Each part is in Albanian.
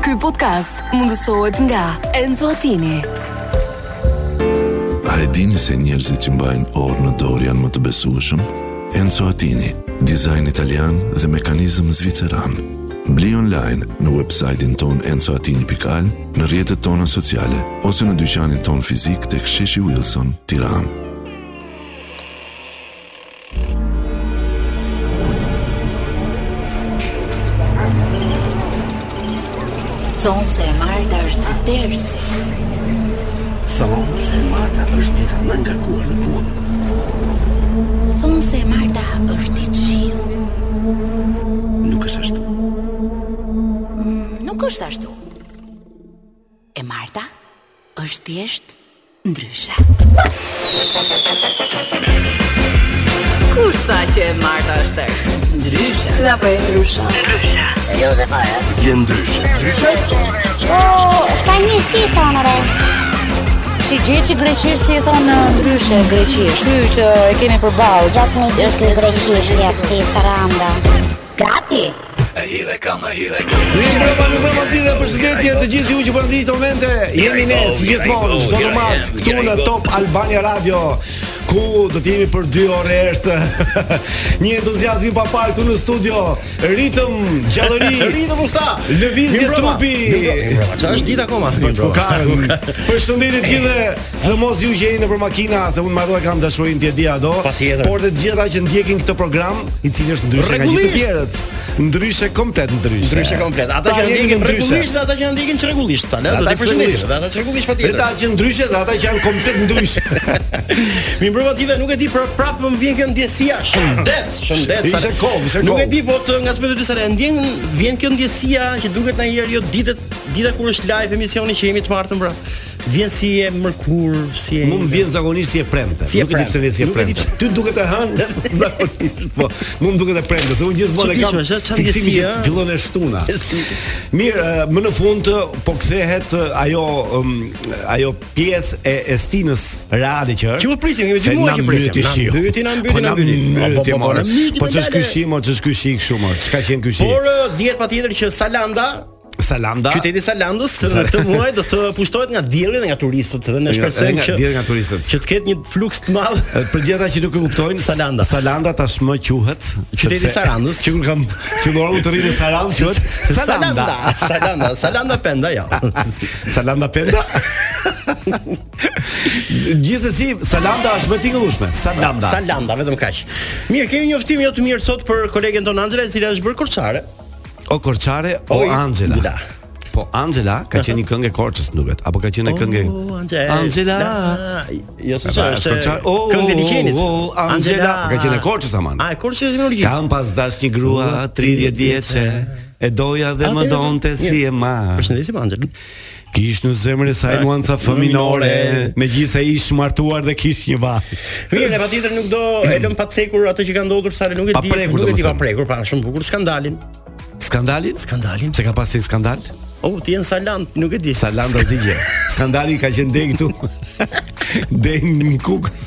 Ky podcast mundësohet nga Enzo Attini. A e dini se njerëzit që mbajnë orë në dorë janë më të besueshëm? Enzo Attini, dizajn italian dhe mekanizëm zviceran. Bli online në website-in ton enzoatini.al, në rjetët tona sociale, ose në dyqanin ton fizik të ksheshi Wilson, tiran. Thonë se e Marta është dersi Thonë se Marta është dita më nga kuar në punë. Thonë se e Marta është i qiu Nuk është ashtu. Nuk është ashtu E Marta është thjesht ndryshe Kush tha që e Marta është tërsi? Ndryshe Si da për e ndryshe? Jo, Je ndryshe. Ndryshe? Ska një si thonë re Që gjithë që greqisht si e thonë në ndryshe greqisht Ty që e kemi përballë Gjas me i këj greqisht ja këti saranda Gati Mirë mbrëma, mirë mbrëma ti dhe përshëndetje të gjithë ju që po ndiqni momente. Jemi ne si gjithmonë çdo mart këtu në Top Albania Radio ku do të jemi për 2 orë është një entuziazëm i papar këtu në studio, ritëm, gjallëri, ritëm usta, lëvizje trupi. Çfarë është ditë akoma? Ku ka? Përshëndetje të gjithë se mos ju që jeni nëpër makina, se unë më e kam dashurinë ti e di do. Patjetër. Por të gjitha që ndjekin këtë program, i cili është ndryshe nga gjithë të Rregullisht. tjerët. Ndryshe komplet ndryshe. Ndryshe komplet. Ata Ta që jemi ndjekin ndryshe. rregullisht dhe ata që ndjekin çrregullisht, sa le do Ata të përshëndesim, çrregullisht. dhe ata çrregullisht Dhe patjetër. ta që ndryshe dhe ata që janë komplet ndryshe. Mi mbrëma ti dhe nuk e di për prap më vjen kjo ndjesia. Shëndet, shëndet. Ishe Sara. kohë, ishe Nuk e kohë. di po të nga s'më dy sare ndjen vjen kjo ndjesia që duket na herë jo ditët, dita kur është live emisioni që jemi të martën pra. Vjen si e mërkur, si e Mu më vjen zakonisht si e premte. Si e nuk e di pse premte. Nuk e di vjen si e premte. pse. Ty duket e hën zakonisht, po. Mu më duket e premte, se unë gjithmonë e kam. Çuditshme, çfarë fiksimin ndjesie, që ëh? fillon e shtuna. Si- Mirë, eh, më në fund eh, po kthehet eh, ajo um, ajo pjesë e e stinës reale që është. Që po prisim, kemi dy Se muaj na që prisim. mbyti Na shiu. mbyti, na mbyti, Po na mbyti. Po, po, po, more. na mbyti, Po më ç'është ky lale. shi, mo, ç'është ky shi kështu, mo. Çka që jemi ky shi? Por ë, dihet patjetër që Salanda Salanda. Qyteti i Salandës në këtë muaj do të pushtohet nga dielli dhe nga turistët dhe ne Nga- shpresojmë nga që dielli nga turistët. që të ketë një fluks të madh. E, Për gjithë ata që nuk e kuptojnë, Salanda. Salanda tashmë quhet Qyteti i sepse- Sarandës. Që kur kam filluar unë të rri në Sarandë quhet Salanda. Salanda, Salanda, Salanda Penda jo. ja. Salanda Penda. Gjithsesi, Salanda është më e tingëllueshme. Salanda. Salanda, vetëm kaq. Mirë, kemi një njoftim jo të mirë sot për kolegen tonë Angela, e cila është bërë korçare. O Korçare o, Oj, Angela. Angela. Po Angela ka qenë një këngë e Korçës, më duket, apo ka qenë këngë O, Angela. Angela. Jo se Pa, çfarë, është Korçare. O, këngë e liçenit. o, o, Angela. Ka qenë e Korçës, aman. A e Korçës është në origjinë. Kam pas dash një grua 30 vjeçe, e doja dhe më Atëherë, donte si mirë. e ma. Përshëndesim Angela. Kish në zemër e saj nuanca fëminore, megjithse ish martuar dhe kish një vajzë. Mirë, e patjetër nuk do e lëm pa të cekur atë që ka ndodhur sa nuk e Pa di, prekur, nuk e di pa domethënë. prekur, pa shumë bukur skandalin. Skandalin? Skandalin? Se ka pas një skandal? Oh, ti je në Salant, nuk e di. Salam do digje. Skandali ka qenë deri këtu. Deri në kukës.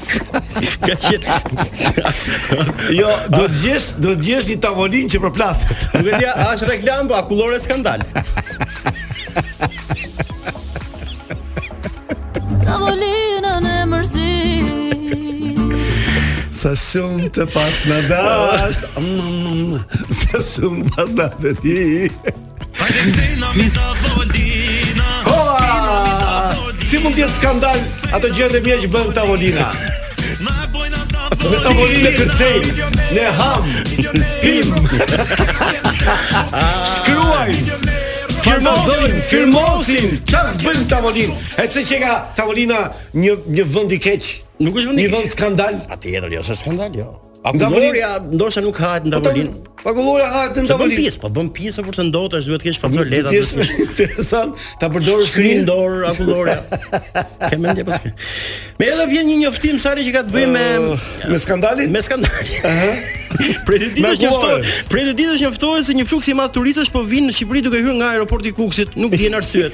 Ka qenë. Jo, do të gjesh, do të gjesh një tavolinë që përplaset. Nuk e di, a është reklam apo akullore skandal. Tavolinën e mërzi Sa shumë të pas në dash. Mm, Sa shumë pas në të ti. Hoa! Si mund të jetë skandal ato gjërat e mia që bën tavolina? Me tavolinë kërcej, ne ham, pim, shkruajmë, firmosin, firmosin, çfarë bën tavolinë? E pse që ka tavolina një një vend i keq, Nuk është vendi. një vend skandal? Patjetër, jo, është skandal, jo. Ndavolinë- Akullorja ndoshta nuk hahet në tavolin. Pagullora hahet Të në bën tavolinë. pjesë, po bën pjesë por të ndotesh, duhet të kesh Do facoleta. të jesh interesant ta përdorësh Shkrin dorë akullorja. Ke mendje pas. Me edhe vjen një njoftim sari që ka të bëjë me me skandalin. me skandal. Prej të ditësh Me njoftohet, akullore. prej të ditësh njoftohet se një fluks i madh turistësh po vinë në Shqipëri duke hyrë nga aeroporti i Kuksit, nuk dihen arsyet.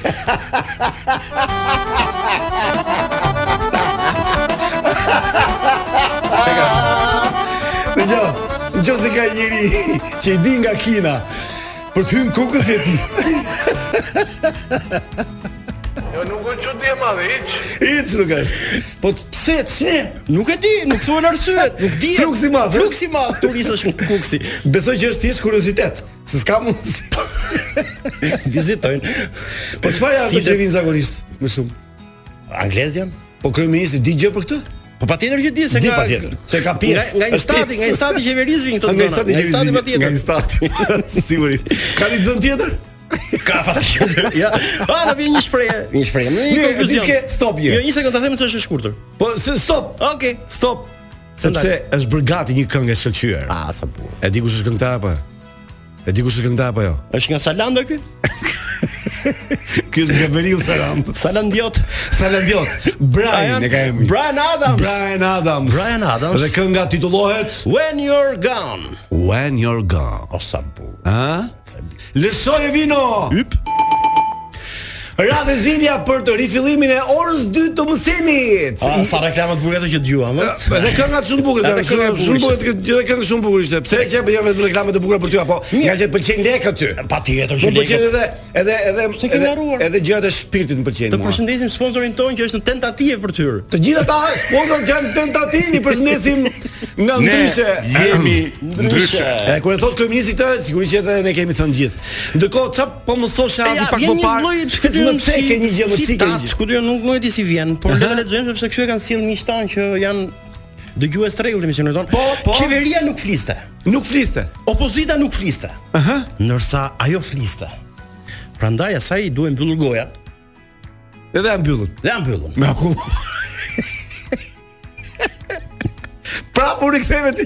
Dëgjoj, nëse ka njëri që i di nga Kina, Për të hyrë kokës e ti. Hiç nuk është. Po t- pse, pse? Nuk e di, nuk thuan arsyet, nuk di. Fluksi i madh, eh? Fluksi i madh, turistësh në kuksi. Besoj që është thjesht kuriozitet, se s'ka mundsi. Vizitojnë. Po çfarë janë ato Si që dhe- vinë zakonisht më shumë? Anglez janë? Po kryeministi di gjë për këtë? Po patjetër që di se Di nga patjetër, se ka pjesë, Nga, nga është instati, pjesë. nga instati qeverisë vin këto A gjëra. nga i stati që vinë zi- Nga patjetër. i stati. Sigurisht. Ka një dënë tjetër? Ka patjetër. Ja. Ah, na vjen një shprehje, një shprehje. Në një Mirë, konkluzion. diçke, stop një. Jo, një sekondë ta them se është e shkurtër. Po se stop. Okej. Stop. Sepse është bërë gati një këngë e shkëlqyer. Ah, sa bukur. E di kush është këngëtar apo? E di kush është këngëtar apo jo? Është nga Salanda ky? Ky është Gabriel Saram. Salandiot. Salandiot. Brian e ka emrin. Brian Adams. Brian Adams. Bryan Adams. Dhe kënga titullohet When you're gone. When You're Gone. O sa bukur. Ha? Lëshoj e vino. Yp. Radhe zilja për të rifillimin e orës 2 të mësimit. Ah, sa reklama të bukura ato që dëgjuam, ëh. Dhe kënga shumë bukur, Edhe kanë kënga e bukur shumë shumë ishte. bukur, kjo- dhe kënga shumë bukur ishte. Pse që bëjmë vetëm reklame të bukura për ty apo? Nga që pëlqejnë lek aty. Patjetër Më që pëlqen lekët. Po, edhe edhe edhe kemi harruar? edhe gjërat e shpirtit më pëlqejnë. Të mua. përshëndesim sponsorin ton që është në tentativë për tyr. Të gjithë ata sponsorët që janë tentativë, i përshëndesim nga ndryshe. jemi ndryshe. E kur e thot kryeministi këtë, sigurisht që edhe ne kemi thënë gjithë. Ndërkohë ç'a po më thoshe aty pak më parë, se të më ceke një gjë më cike një gjë. Ku do nuk nuk e di si vjen, por le ta lexojmë sepse këtu e kanë sill miq tan që janë dëgjues të rregullt të misionit ton. Po, po. Qeveria nuk fliste. Nuk fliste. Opozita nuk fliste. Aha. Ndërsa ajo fliste. Prandaj asaj i duhen mbyllur gojat Edhe e mbyllën. dhe ja mbyllën. Me aku. Prapë u riktheve ti.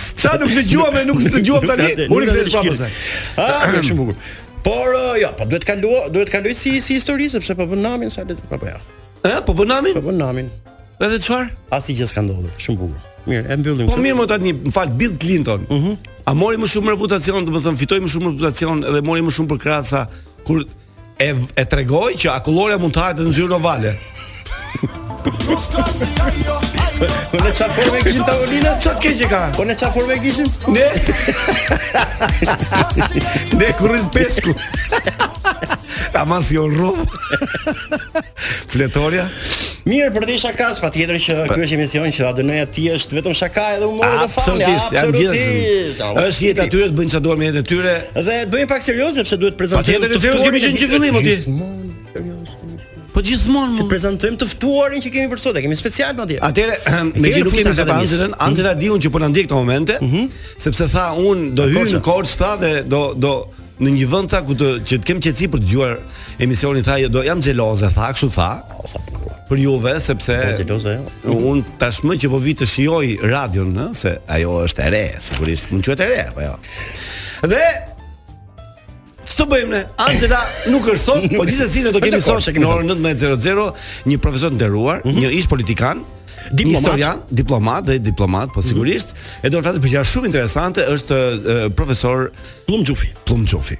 Sa nuk dëgjuam e nuk dëgjuam tani, Nuk- u nuk- rikthyem prapë nuk- se. Ah, kjo është shumë bukur. Por uh, jo, po duhet kaloj, duhet kaloj si si histori sepse po bën namin sa le të apo ja. Ë, po bën namin? Po bën namin. Edhe çfarë? Asnjë gjë s'ka ndodhur. Shumë bukur. Mirë, e mbyllim. Po këtë. mirë më tani, më fal Bill Clinton. Mhm. A mori më shumë reputacion, do të thënë fitoi më shumë reputacion dhe mori më shumë për krahas sa kur e v- e tregoi që akulloria mund të hahet në zyrën ovale. Po ne çfarë po me kishin tavolinën? Çat keq e ka. Po ne çfarë po me kishin? Ne Ne kurriz peshku. Aman si on rrov. Fletoria. Mirë, për të isha kas, patjetër që ky është emision që ADN-ja ti është vetëm shaka edhe humor Po, edhe fani. janë gjithë. absolutisht. Ah, Është jeta e tyre të bëjnë çfarë duan me jetën e tyre. Dhe të bëjmë pak serioz sepse duhet prezantojmë. Patjetër, të serioz kemi ftuarin qenë e që fillim, o ti. Gjithmonë serioz. Po gjithmonë Të prezantojmë të ftuarin që kemi për sot, e kemi special madje. Atëre, me që nuk fusta kemi sot akademisë. Anxhelën, Anxhela di unë që po na ndjek këto momente, sepse tha unë do hyj në Korçë tha dhe do do në një vend tha ku të që të kem qetësi për të dëgjuar emisionin tha jo, do jam xheloze tha, kështu tha O, sa bukur. për juve sepse Xheloze, jo. unë tashmë që po vi të shijoj radion, ë, se ajo është e re, sigurisht mund quhet e re, apo jo. Dhe Ç'të bëjmë ne? Angela nuk është sot, po gjithsesi ne do kemi Dakor, sot se kemi në orën 19:00 një profesor nderuar, një ish politikan, një Mhm. Diplomat. Mhm. historian, diplomat dhe diplomat, po sigurisht, e do të flasë për gjëra shumë interesante, është e, profesor Plum Xhufi. Pllumçofi.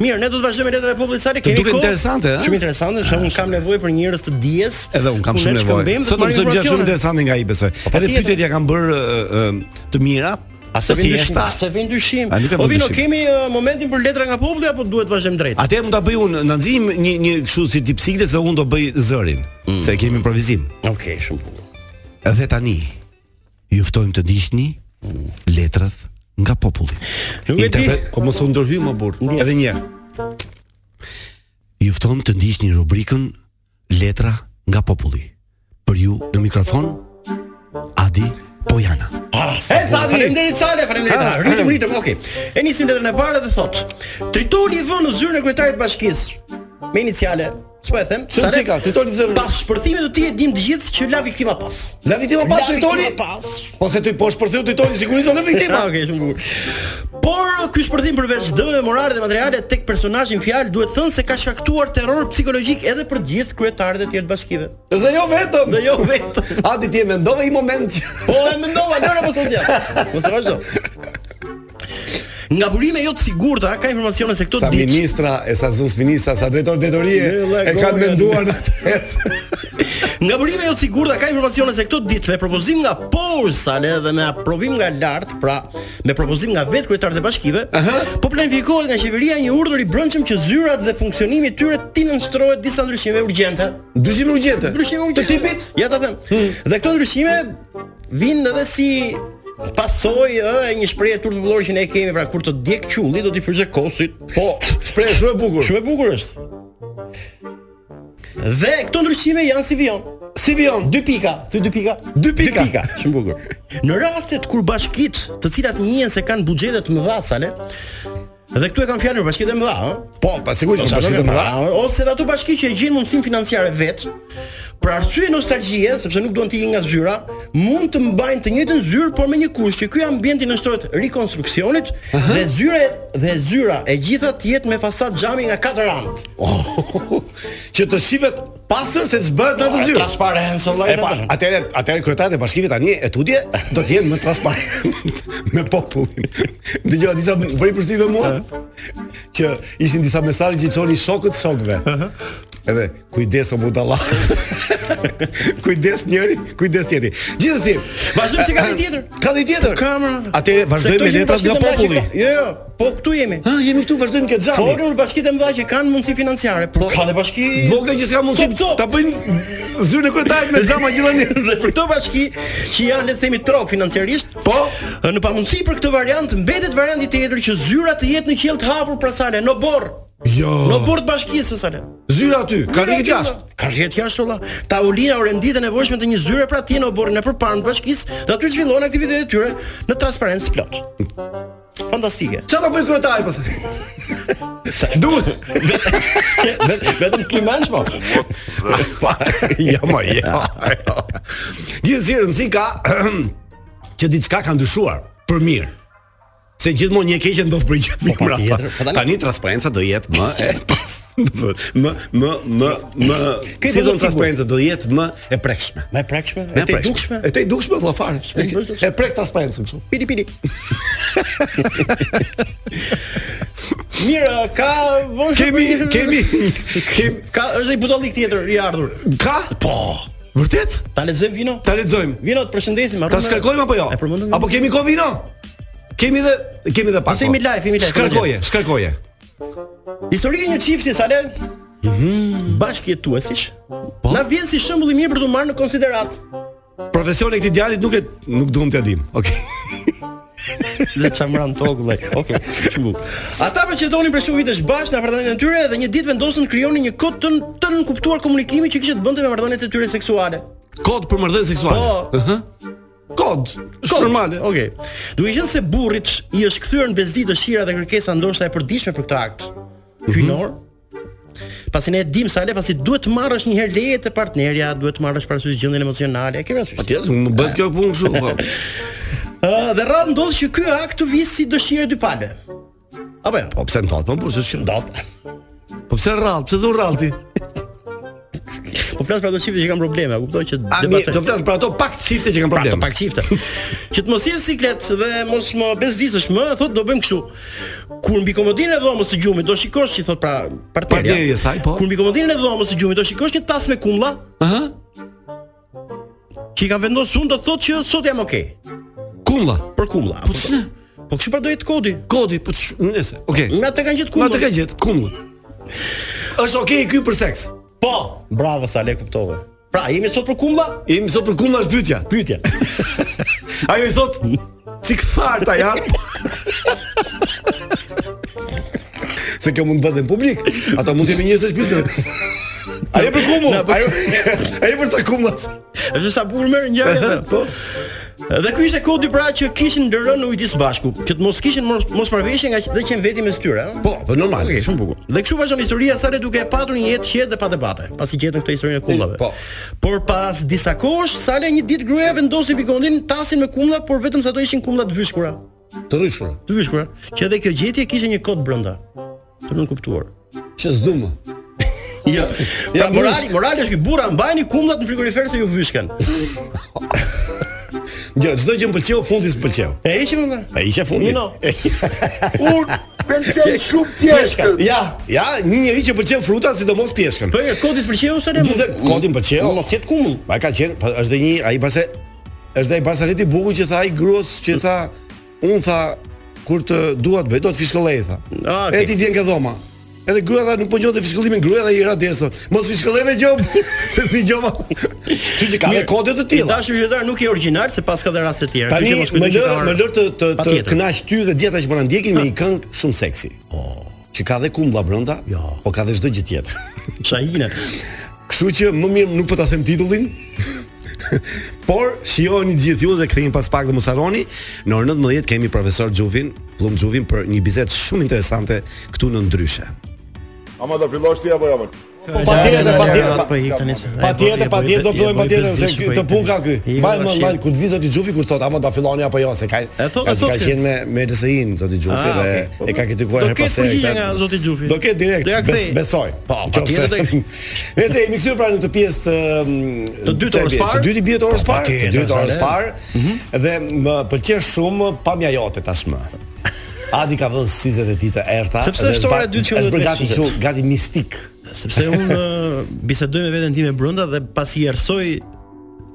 Mirë, ne do të vazhdojmë me letrat e popullit sale. Të duket interesante, ëh? Shumë interesante, sepse unë kam nevojë për njerëz të dijes. Edhe un kam ku ne të shumë nevojë. shkëmbejmë dhe Sot të do të marrim thotë gjëra shumë informacione. interesante nga ai besoj. Edhe patjetër. pyetjet ja kanë bërë e, e, të mira, A se të vjen dyshim? thjeshta. A se vjen dyshim? A nuk e Po vjen vino dyshim. kemi uh, momentin për letra nga populli apo duhet vazhdojmë drejt? Atë mund ta bëj unë në nxjim një një kështu si tip siklet se unë do bëj zërin, se kemi improvizim. Okej, shumë bukur. Edhe tani ju ftojmë të ndiqni letrat nga populli. Nuk e di. Interpret- Po mos u ndërhyj më burr. Edhe një herë. Ju ftojmë të ndiqni rubrikën Letra nga populli. Për ju në mikrofon Adi Pojana. Ah, sa E, Zadi! Faleminderit Sale, faleminderit. Ah, Ah, Ritëm, ah. ritëm, okay. E nisim letrën e parë dhe thot. Tritoli i vënë në zyrën e kryetarit të bashkisë me iniciale. Ç'po e them? Shumë çika, Tritoli në zyrën. Pas shpërthimit të tij e dim të gjithë që la viktima pas. La viktima pas, Tritoli? viktima pas. Po se ti po shpërtheu Tritoli sigurisht do në Tema, okay, shumë bukur. Por ky shpërthim përveç dëmeve morale dhe materiale tek personazhin fjalë duhet thënë se ka shkaktuar terror psikologjik edhe për të gjithë kryetarët e tjerë të bashkive. Dhe jo vetëm. Dhe jo vetëm. Adi ti e mendove i moment që Po e mendova lëre mos u zgjat. Mos e vazhdo. Nga burime jo të sigurta ka informacione se këto Sa ditë ministra, e sa zus ministra, sa drejtor drejtorie Në e lagojën. kanë menduar në atë. Nga burime jo të sigurta ka informacione se këto ditë me propozim nga Porsale dhe me aprovim nga lart, pra me propozim nga vetë kryetarët e bashkive, po planifikohet nga qeveria një urdhër i brendshëm që zyrat dhe funksionimi i tyre ti nënshtrohet disa ndryshime urgjente. Ndryshime urgjente. Ndryshime urgjente. Të tipit? Hmm. Ja ta them. Dhe këto ndryshime vinë edhe si pasoj ë e një shprehje turpëllore që ne e kemi pra kur të djeg qulli do t'i fryzë kosit. Po, Shpreh shumë e bukur. Shumë e bukur është. Dhe këto ndryshime janë si vion. Si vion? Dy pika, ty dy pika, Dy pika. Shumë bukur. Në rastet kur bashkit, të cilat njihen se kanë buxhete të mëdha sale, dhe këtu e kanë fjalën për bashkitë e mëdha, ëh. Po, pa sigurisht, Ose po, ato bashkë të mëdha. ose edhe ato bashki që e gjejnë mundësinë financiare vet, për arsye nostalgjie, sepse nuk duan të ikin nga zyra, mund të mbajnë të njëjtën zyrë, por me një kusht që ky ambienti nënshtrohet rikonstruksionit dhe zyra dhe zyra e gjitha të jetë me fasad xhami nga katër anë. Që të shihet pastër se ç'bëhet në atë zyrë. Transparencë Po E pa, vëllai. atëherë atëherë kryetarët e bashkimit tani e tutje do të jenë më transparent me popullin. Dëgjoj disa bëri përshtypje mua që ishin disa mesazhe që i çonin shokët shokëve. Edhe kujdes o budalla. kujdes njëri, kujdes tjetri. Gjithsesi, Vazhdojmë se ka një tjetër. Ka dhe tjetër. Kamera. Se Atëherë këto vazhdojmë me janë letrat nga bashkitë e mëdha që populli. ka- Jo, jo, po këtu jemi. Ha, jemi këtu, vazhdojmë këtë Po, xhamin. Folën për bashkitë e mëdha që kanë mundësi financiare, por ka dhe bashki Vogla që s'ka Cop, mundësi cop. ta bëjnë zyrën e kryetarit me xhama gjithani. dhe për këto bashki që janë le të themi trok financiarisht, Po. në pamundësi për këtë variant mbetet varianti tjetër që zyra të jetë në qiell të hapur pra sale, në borr, Jo. në borr të bashkisë së sale. Zyra aty, po. ka rrit jashtë. Ka rrit jashtë olla. Tavolina ore nditë e nevojshme të një zyre pra ti në borrin e përparën të bashkisë, dhe aty zhvillohen aktivitetet e tyre në transparencë plot. Fantastike. Çfarë do bëj kryetari pastaj? Duhet. Vetëm- Vetëm klimanç po. Ja më ja. ja. Gjithsesi rëndsi ka që diçka ka ndryshuar për mirë. Se gjithmonë një e keqe ndodh për gjithë mirë. mbrapa. patjetër, po tani- Tani transparenca do jetë më e pas, do të thotë, më më më më Ke si po do sigur. transparenca do jetë më e prekshme. Me prekshme, Me e te prekshme. dukshme. E te i dukshme vëlla fare. E prek transparencën kështu. Pili pili. Mirë, ka vonë Kemi kemi Kem, ka është i budallik tjetër i ardhur. ka? Po. Vërtet? Ta lexojmë vino? Ta lexojmë. Vino të përshëndesim. Ta harrona- shkarkojmë apo jo? E përmendëm. Apo kemi kohë vino? Kemi dhe kemi dhe pak. Ose jemi kohë. live, jemi live, Shkarkoje, shkarkoje. historike një çifti sale. Mhm. Bashkëjetuesish. Po? Na vjen si shembull i mirë për të marrë në konsiderat. Profesioni i këtij djalit nuk e nuk duam t'ia dim. Okej. Dhe çamran tok vëllai. Okej, shumë bukur. Ata po qëtonin për shumë vitesh bashkë në apartamentin e tyre dhe një ditë vendosën të krijonin një kod të n- të nënkuptuar komunikimi që kishte të bënte me marrëdhëniet e tyre seksuale. Kod për marrëdhënie seksuale. Po. Ëhë. Kod. Është normale. Okej. Duke qenë se burrit i është kthyer në bezdi dëshira dhe kërkesa ndoshta e përditshme për këtë akt Mhm. hyjnor. Pasi ne e dim sa le pasi duhet të marrësh një herë leje te partnerja, duhet të marrësh parasysh gjendjen emocionale, e ke parasysh. Patjetër, më bëhet kjo punë kështu. po. Ë, dhe rradh ndodh që ky akt të vi si dëshirë dy pale. Apo jo. Po pse ndot? Po pse s'ka ndot? Po pse rrall? Pse do rrall ti? Po flas për ato çifte që kanë probleme, a kuptoj që A mi do flas për ato pak çifte që kanë Pra të problem. pak çifte. që të mos jenë siklet dhe mos më bezdisësh më, thot do bëjmë kështu. Kur mbi komodinën e dhomës së gjumit do shikosh që thot pra partnerja. Partneri i saj, po. Kur mbi komodinën e dhomës së gjumit do shikosh një tas me kumlla Ëhë. që i kanë vendosur unë do thot që sot jam okay Kumlla. për kumlla. Po ç'ne? Po kështu pra do jetë kodi. Kodi, po ç- nëse. Okej. Nga të kanë gjetë Ma kumlla. të ka gjetë kumlla. Është okay ky për seks. Po. Bravo sa le kuptove. Pra, jemi sot për kumlla? Jemi sot për kumlla është pyetja. Pyetja. Ajo i thot Cik tharta janë Se kjo mund të bëhet dhe në publik Ata mund të jemi njësë shpisë Ajo për kumu Na bë- Ajo, ajo për sa kumlas Është sa bukur merr ngjarje. Po Dhe ky ishte kodi pra që kishin ndërën në ujtis bashku, që të mos kishin mos, mos marrëveshje nga që- dhe qenë veti mes tyre, ëh. Po, po normal Okej, shumë bukur. Dhe kështu vazhdon historia sa le duke e patur një jetë qetë dhe pa debate, pasi gjetën këtë historinë e kumllave. Po. Por pas disa kohësh, sa le një ditë gruaja vendosi pikondin tasin me kumlla, por vetëm sa do ishin kumlla të vyshkura. Të ryshura Të vyshkura, që edhe kjo gjetje kishte një kod brenda. Të nën kuptuar. Që s'du më Jo. Ja, pra, morali, morali është ky burra mbajini kumllat në frigorifer se ju vyshken. Gjë, çdo gjë më pëlqeu, fundi s'më pëlqeu E heqim më. E ishe fundi Mino. Un Pëlqej shumë pjeshkën. Ja, ja, një njerëz që pëlqen frutat, sidomos pjeshkën. Po e kodit pëlqeu ose ne? Gjithë kodin pëlqeu. Mos jet kumull. Ai ka qenë, pa- është dhe një, ai pse është dhe ai Barsaleti buku që tha ai gruas që tha, un tha kur të dua të bëj, do të fishkollej tha. Ah, E okay. ti vjen ke dhoma. Edhe gruaja tha nuk po gjote fishkëllimin, gruaja tha i ra derso. Mos fishkëllej me gjob, se si gjoma. Kështu që ka dhe Mirë, kode të I tilla. dashur qytetar nuk je origjinal se pas ka dhe raste të tjera. Tani Kështu që mos kujto më lë qytetarët. më lë të të, të Patjetër. kënaq ty dhe gjithë ata që po na ndjekin me një këngë shumë seksi. Oh. Që ka dhe kumbulla brenda, Jo. po ka dhe çdo gjë tjetër. Shahina. Kështu që më mirë nuk po ta them titullin. Por shijoni gjithë ju dhe kthehemi pas pak dhe mos harroni, në orën 19 kemi profesor Xhuvin, Plum Xhuvin për një bisedë shumë interesante këtu në ndryshe. Ama do fillosh ti apo jo? më? Po patjetër, patjetjetër, po hik tani. se- Patjetër, patjetër do fillojmë patjetër se ky- të pun ka ky. Mbaj më mbaj kur të vi zoti Xhufi kur thot ama do filloni apo jo se ka. E thot, ka- e thot ka kë? qenë me me RSI-n zoti Xhufi Ah, dhe okay. e ka kritikuar Do her ketë pas here përgjigje këtë. nga zoti Xhufi. Do ketë direkt. Do ja bes- kthej. besoj. Po, patjetër do e kthej. Nëse jemi këtu pra në këtë pjesë të mm, Të dytë të- orës parë? Të dytë bie të orës Po, parë. Të patjetër, dytë orës zane. parë. Mhm. Dhe më pëlqen shumë pamja jote tashmë. Adi ka vënë syzet e tij të errta. Sepse dhe është ora zba- e dytë që unë është bërë me gati syzet. kështu, gati mistik. Sepse un ë, bisedoj me veten time brenda dhe pasi i ersoj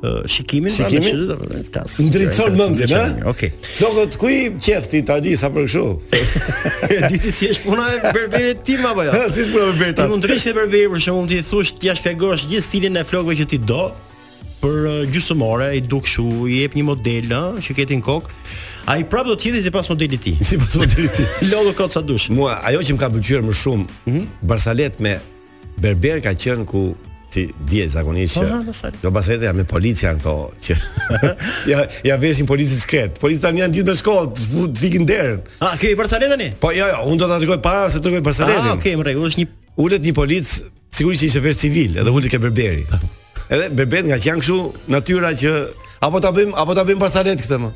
ë, shikimin pra me Shikimin? qytetarët, e flas. Ndritson mendjen, a? Okej. Flokët ku i qefti tani sa për kështu? E diti si është puna e berberit tim apo jo? si s'puna me Ti mund të rish e berberi për shembull ti thush ti ja shpjegosh gjithë stilin e flokëve që ti do për uh, gjysmore, i duk kështu, i jep një model, ë, që ketin kokë. Ai prap do të hidhi sipas modelit të tij. Sipas modelit të tij. Lodhë kot sa dush. Mua ajo që më ka pëlqyer më shumë, Mhm. Barsalet me Berber ka qenë ku ti dje zakonisht që Aha, Barsalet. do Barsalet janë me policia janë këto që ja ja veshin policë diskret. Policët tani janë gjithë me shkollë, të fut- të fikin derën. A, ke i Barcelona tani? Po jo, jo, unë do ta dërgoj para se të dërgoj Barsaletin. Ah, okay, në rregull, është një ulet një polic, sigurisht që ishte vesh civil, edhe ulet ke berberi. Edhe berberi nga që janë kështu natyra që apo ta bëjmë apo ta bëjmë barsalet këtë më.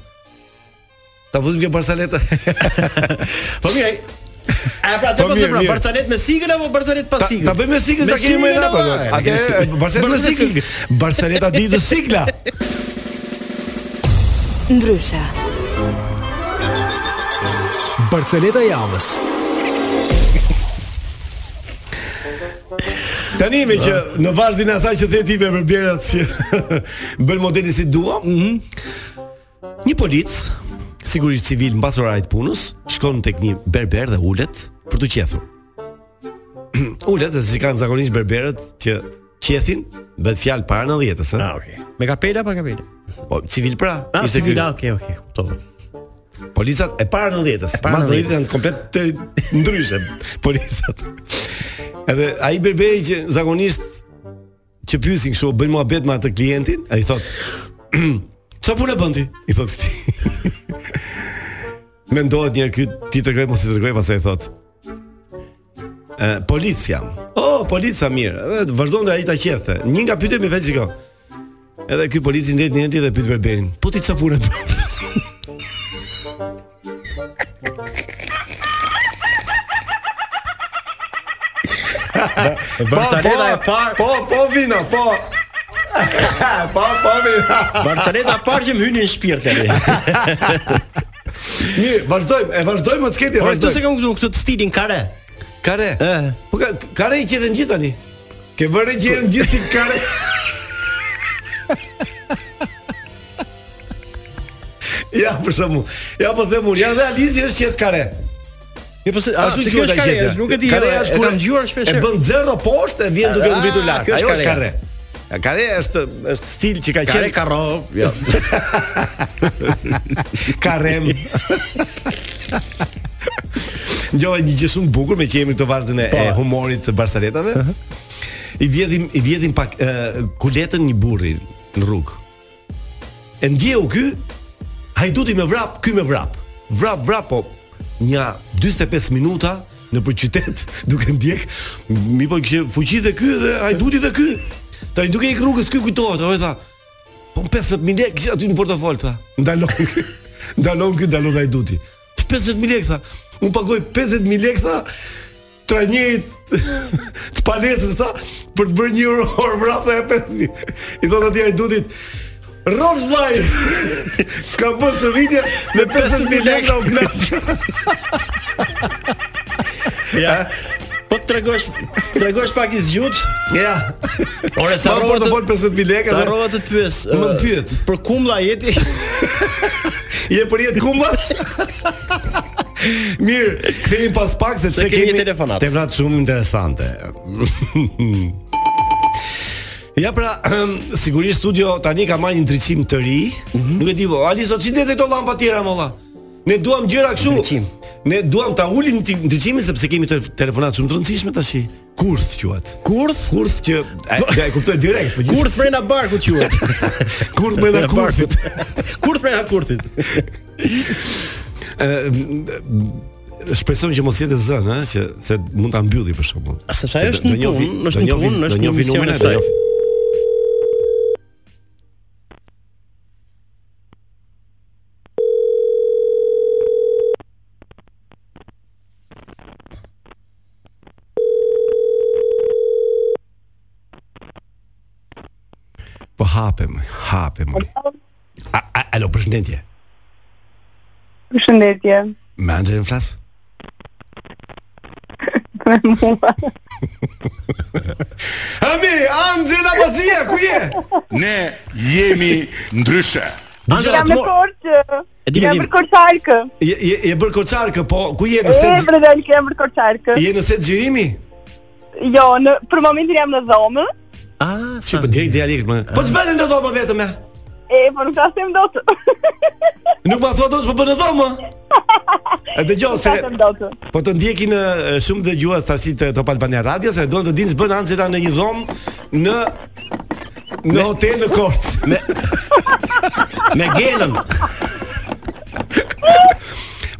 Ta vuzim ke barsalet. Po mirë. ai- A pra të Po, po mirë, pra mirë. Barcelet me sigël apo Barcelet pa Ta, sigël? ta bëjmë me sikën, ta kemi më sigël, apo. vaj. Atë barsalet me sikën. Barsaleta ditë sigla. Ndryshe. Barceleta e javës. Tani me që Ah. në vazhdim e asaj që the ti me përpjerat që bën modelin si dua. Mhm. Një polic, sigurisht civil mbas orarit punës, shkon tek një berber dhe ulet për të qethur. ulet dhe si kanë zakonisht berberët që qethin vetë fjalë para 90-s, ë. Ah, okay. Me kapela apo kapela? Po civil pra, Ah, ishte si ky. vila, okay, okay, kuptova. Policat e para 90-s, para mbas 90-s. 90-s janë komplet të ndryshe policat. Edhe ai berberi që zakonisht që pyesin kështu, bëjnë muhabet me atë klientin, ai thot Çfarë punë bën ti? I thot këtij. Mendohet një herë ky ti tregoj mos i tregoj pastaj i thot. Ë polic jam. Oh, polic sa mirë. Edhe vazhdon ai ta qethte. Një nga pyetjet më vetë çiko. Edhe ky polici ndet një ditë dhe pyet berberin. Po ti çfarë punë bën? Barceleta e po, parë. Po, po vino, po. po, po vino. Barceleta parë që më hyni në shpirt tani. Mirë, vazhdojmë, e vazhdojmë të sketi, Po këtu se vazhdojmë. kam këtu këtë stilin kare. Kare. Ë. Po ka, kare i qetën gjithë tani. Ke vënë gjën gjithë si kare. ja, për shembull. Ja po them unë, ja dhe Alizi është qetë kare. Jo po se A Ashtu kjo është quhet ai kare, gjëja. nuk e di. Kare e- e është kur kam dëgjuar shpesh. E bën zero poshtë e vjen duke Ah, mbitur lart. kjo është Ajo është kareja. kare. Ja, Kare është është stil që ka kare qenë karro, jo. Karem. Gjova një gjë shumë bukur me që jemi këtë vazhdim e, Po. e humorit të Barsaletave. I vjedhim i vjedhim pak ë, kuletën një burri në rrugë. E ndjeu ky, hajduti me vrap, ky me vrap. Vrap, vrap, po nja 45 minuta në për qytet duke ndjek mi po kishte fuqi dhe ky dhe hajduti dhe ky. Tani duke i rrugës ky kujtohet, oj tha, Po më 15000 lekë kisha aty në portofol tha. Ndalon. ky. Ndalon ky ndalon ai duti. 15000 lekë tha. Un pagoj 50000 lekë tha trajnerit të palesës tha për të bërë një orë orë vrap tha e 5000. I thot atij ai dutit Rrosh vllai. S'ka bën shërbitë me 50000 lekë u blat. Ja. Po të tregosh, tregosh pak i zgjut. Ja. Ore sa Ma rrova po të vol 15000 lekë Sa dhe- rrova të të pyes. Më ë, pyet. Për kumlla jeti? Je për jetë kumbash? Mirë, kthehemi pas pak sepse Se kemi një telefonat. Telefonat shumë interesante. Ja pra, sigurisht studio tani ka marrë një ndriçim të ri. Mhm. Nuk e di po, Ali sot çindet këto lampa tjera molla. Ne duam gjëra kështu. Ndriçim. Ne duam ta ulim ti- ndriçimin sepse kemi të telefonat shumë të rëndësishme tash. Kurth quhet. Kurth? Kurth që e, ja, e kuptoj direkt. po gjithsesi- Kurth brenda barkut quhet. kurth më na kurthit. Kurth brenda kurthit. Shpresojmë që mos jetë zën, ëh, që se mund ta mbylli për shembull. Sepse ajo Se është në do- do njofi- punë, do është në njofi- punë, do është në njofi mision numrin e e saj. njofi. Po hapem, hapem. A- a- Alo, përshëndetje. Përshëndetje. Me Anxhelën flas? Me mua. Ami, Anxhela Bazia, ku je? Ne jemi ndryshe. Anxhela, Jam të me mor- korqë. E di, e Jam di. me korqarkë. je je je bër koçarkë, po ku je E, në set? bre dalë jam me korqarkë. Je në set xhirimi? Jo, në, për momentin jam në dhomë. Ah, si po direkt dialekt më. Po ç'bën në dhomë vetëm e? E, po nuk ta them dot. Nuk ma thua dot, po bën në dhomë. E dëgjoj Nuk se ta them dot. po të ndjekin e, shumë dëgjues tash të Top Albania Radio se duan të dinë s'bën Anxhela në një dhomë në në hotel në Korçë. Me me genën.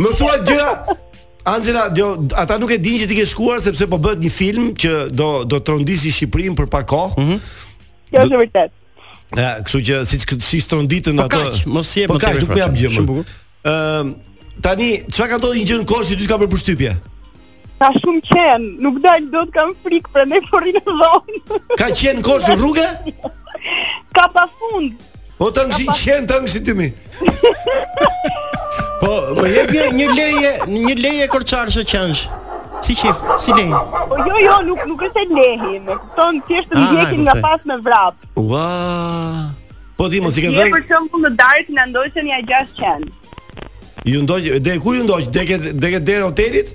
Më thua gjëra Angela, jo, ata nuk e dinë që ti ke shkuar sepse po bëhet një film që do do trondisi Shqipërinë për pak kohë. Mm. Kjo është e vërtet. Ja, kështu që siç siç tronditën Po pra. ato. kaq, mos jep Po më kaq, tepër nuk po jap frasa. gjë më. Shumë bukur. Ëm tani çfarë ka ndodhur një gjë në Korçë që ty të ka bërë përshtypje? Ka shumë qenë, nuk dalë dot, kam frikë, prandaj po rri në dhomë. Ka qenë në Korçë në rrugë? Ka pafund. Po të ngshi qenë të ngshi tymi. Po, po jep një një leje, një leje korçarshë qansh. Si qef, si leje. Po jo, jo, nuk nuk është e lehi, me kupton, thjesht të Ah, ndjekin e nga kuptoj. pas me vrap. Ua. Po ti mos i ke Je për dhënë. shembull në darkë na ndoqën ja 6 qenë. Ju ndoj deri kur ju ndoj? Deri ke deri ke deri hotelit?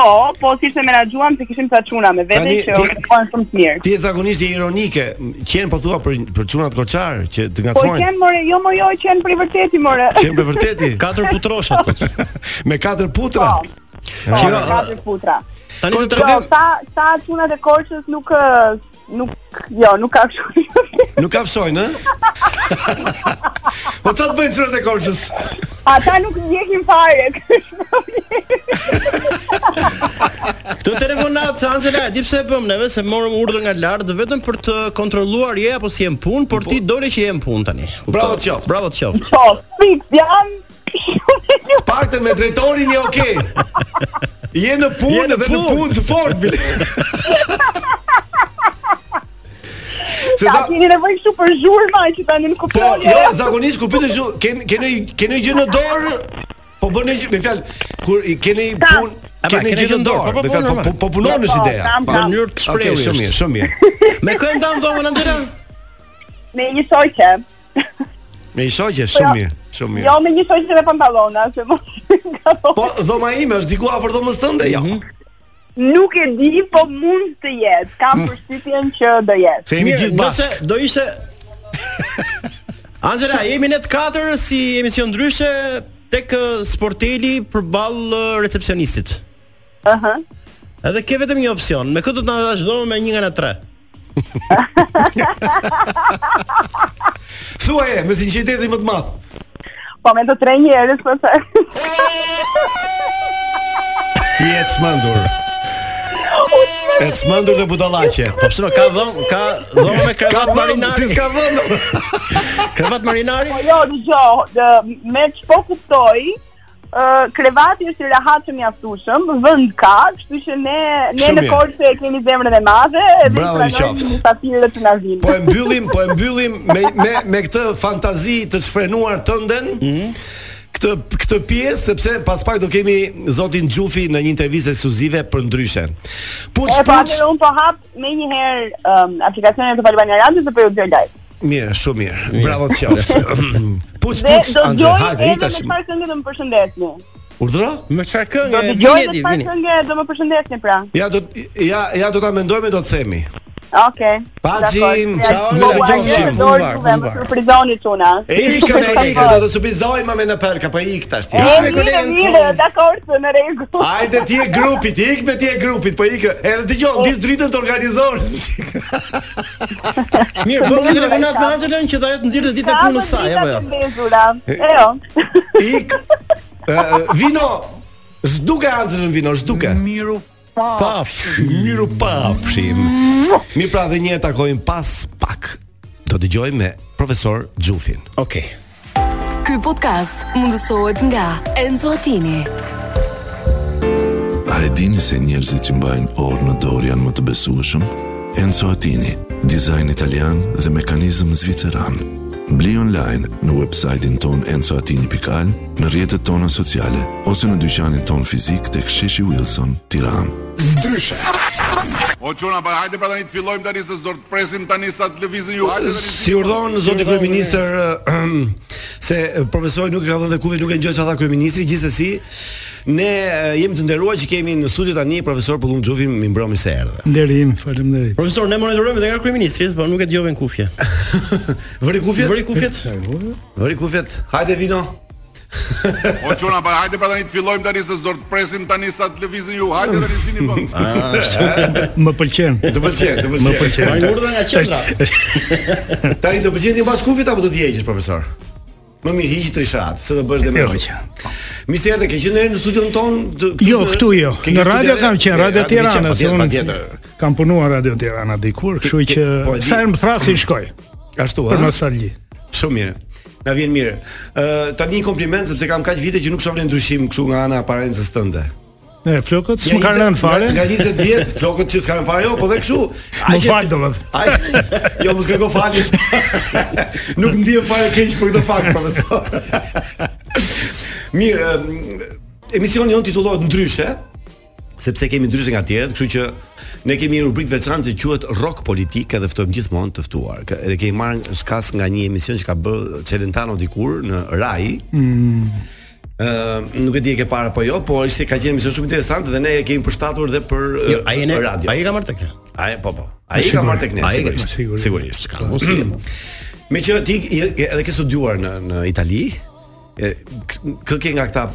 Po, po si ishte menaxhuam se kishim ca çuna me vete Tani, që ti- kanë shumë të mirë. Ti e zakonisht je ironike, qen po thua për për çunat koçar që të Po ngacmojnë. qen more, jo mo jo qen për i vërteti more. Qen për vërteti, Katër putrosha thotë. me katër putra. Po. Po, Që, me ë, katër putra. Tani do të Jo, tregojmë sa sa çunat e Korçës nuk ë, nuk jo, nuk ka kështu. Nuk ka fshojnë, ë? po çfarë të bëjnë çunat e Korçës? Ata nuk ndjekin fare. ky është problemi. Këtë telefonat Angela, e di pse e bëm neve se morëm urdhër nga lart vetëm për të kontrolluar je apo si je në punë, por ti dole që je në punë tani. Kupton? Po. Bravo të qoftë. Bravo të qoftë. Po, fix jam. Paktën me drejtorin je okay. Je në punë Je në dhe në punë. punë të fortë. bile. Se Ta za keni nevojë kështu për zhurma që tani nuk Po, kuptoni. jo, zakonisht kur pyetë kështu, ken keni keni gjë në dorë, po bën një gjë- me fjalë, kur i keni Ta. punë, A, pra, keni gjë në dorë, po, po, me fjalë, po- normal. po po punon është Po, ideja. tam, Po, tam. mënyrë të shprehur. Okej, shumë shumë mirë, mirë, shumë mirë. Me kë ndan dhomën Angela? Me një shoqe. Me i shoqe, shumë jo. mirë, shumë mirë. Jo me një shoqe dhe pantallona, se mos ka thonë. Po dhoma ime është diku afër dhomës tënde, jo. Nuk e di, po mund të jetë. Kam përshtypjen që do jetë. Se jemi gjithë bashkë. nëse do ishte Angela, jemi ne të katër si emision ndryshe tek ë, Sporteli përballë ë, recepcionistit. Ëhë. Edhe ke vetëm një opsion. Me kë do të na dhash dhomën me një nga na tre? Thuaje me sinqeritetin më të madh. Po me të tre njerëz po se. Ti je çmendur. E çmendur dhe budallaqe. Po pse ma ka dhom, ka dhomë me krevat si marinari. s'ka vënë. Krevat marinari? Po jo, dëgjoj, dë- me ç'po kuptoj, ë krevati është i rehatshëm i mjaftueshëm, vend ka, kështu që ne ne Shumë në mirë. Korçë e kemi zemrën e madhe edhe Bravo, i qoftë. musafirët që na vinë. Po e mbyllim, po e mbyllim me me me këtë fantazi të çfrenuar tënden. Këtë këtë këtë pjesë sepse pas pak do kemi zotin Xhufi në një intervistë ekskluzive për ndryshe. Puç E puç. po atëherë un po hap me një herë um, aplikacionin e Top Albania Radio dhe për u bërë live. Mirë, shumë mirë. Bravo të qoft. Puç Dhe puç do Andre, dëgjoj hajde edhe i tash. me çfarë këngë do më përshëndetni. Urdhëro? Me çfarë Do këngë? dëgjoj me çfarë këngë do më përshëndetni pra. Ja do ja ja do ta mendojmë do të themi. Okej. Paci, Dakor. ciao, Ja, ne buar, dëgjojmë, ja, buar, dorë buar, juve, më buar. Surprizoni çuna. Ikën e ikën, do të supizojmë me në përka, po ik tash ti. E, mirë, mirë, dakor, së në rregull. Hajde ti e grupit, ik me ti e grupit, po ik. Edhe dëgjoj, dis dritën të organizosh. Mirë, bëmë një telefonat me Angelën që ta jetë nxirë të ditë e punës saj, apo jo? Ejo. Ik. Ë, Vino. Zhduke Anxhelën Vino, zhduke. Miru pafshi, miru pafshim. Mi pra dhe një herë takojmë pas pak. Do dëgjojmë me profesor Xhufin. Okej. Ky podcast mundësohet nga Enzo Attini. A e dini se njerëzit që mbajnë orë në dorë janë më të besueshëm? Enzo Attini, dizajn italian dhe mekanizëm zviceran. Bli online në website-in ton enzoatini.al, në rjetët tona sociale, ose në dyqanin ton fizik të ksheshi Wilson, tiran. Ndryshe. O çuna, pa hajde pra tani të fillojmë tani se s'do të presim tani sa të lëvizin ju. Hajde tani. Si urdhon zoti kryeministër ë, se profesori nuk e ka dhënë dhe kuve nuk e ngjoj çata kryeministri, gjithsesi ne ë, jemi të nderuar që kemi në studio tani profesor Pullum Xhufi mi mbromi se erdhe. Nderim, faleminderit. Profesor, ne monitorojmë dhe nga kryeministri, po nuk e dëgjova në kufje. Vëri kufjet? Vëri kufjet? Vëri kufjet. Hajde vino. O çuna, pa hajde pra tani të fillojmë tani se s'do të presim tani sa të lëvizin ju. Hajde tani sini po. vend. Më pëlqen. Të pëlqen, të pëlqen. Më pëlqen. Ai urdhën nga qendra. Tani të pëlqen ti mbas kufit apo do të djegjesh profesor? Më mirë hiqi trishat, se do bësh dhe më Jo, shumë. Mi se erdhe, ke qenë në studion ton? të- Jo, këtu jo. Ke Në qenë radio studion- kam qenë, Radio Eh, Tirana, se patjetër, unë patjetër. kam punuar Radio Tirana dikur, kështu që po, e di. sa herë më thrasi i shkoj. Ashtu, Për ha? nostalgji. Shumë mirë. Na vjen mirë. Ë tani një kompliment sepse kam kaq vite që nuk shoh ne ndryshim kështu nga ana e aparencës tënde. Ne flokët Nga s'm kanë 20 rënë fare. Nga nga 20 vjet flokët që s'kan fare, jo, po dhe kështu. Më Ai që- fal domethënë. Ai jo mos kërko falje. Nuk ndihem fare keq për këtë fakt, profesor. Mirë, em, emisioni jon titullohet ndryshe, sepse kemi ndryshe nga tjerët, kështu që ne kemi një rubrikë të veçantë që quhet Rock Politik edhe ftojmë gjithmonë të ftuar. Kë- Ne kemi marrë skas nga një emision që ka bërë Celentano dikur në Rai, Mm. Ë, nuk e di e ke parë apo jo, por ishte ka qenë emision shumë interesant dhe ne e kemi përshtatur dhe për jo, ai ne, radio. Ai ka marrë tek ne. Ai po po. Ai Sigurisht. ka marrë tek Ai ne, ka- sigurisht. sigurisht. Sigurisht. Ka mos si e mo. Me që ti i- edhe ke studiuar në në Itali, e, k- kë ke nga këta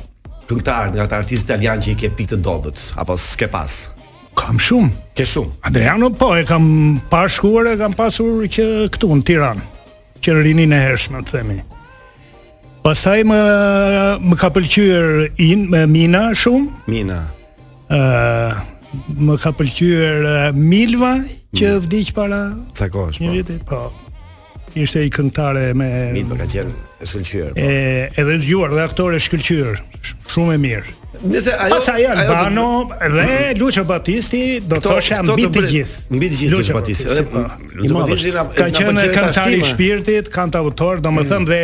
këngëtarë, nga këta artistë italianë që i ke pikë të dobët apo s'ke pas? Kam shumë. Ke shumë. Adriano po e kam pa shkuar, e kam pasur që këtu në Tiranë, që rinin e hershme të themi. Pastaj më më ka pëlqyer In me Mina shumë. Mina. Ë më ka pëlqyer eh, Milva që vdiq para Ca kohësh një viti, po. Ishte i këngëtare me Mito po, ka qenë e shkëlqyer. po. e edhe zgjuar dhe aktore shkëlqyer, sh- shumë e mirë. Nëse ajo Pastaj ajo të- Albano dhe Lucio Battisti do të Këto- thoshja këto mbi të të bre- gjithë. mbi të gjithë Lucio Battisti, edhe po. Lucio I madh Battisti është. na- ka na Mm. qenë pëlqen këngëtar i tashtima. shpirtit, kantautor, domethënë dhe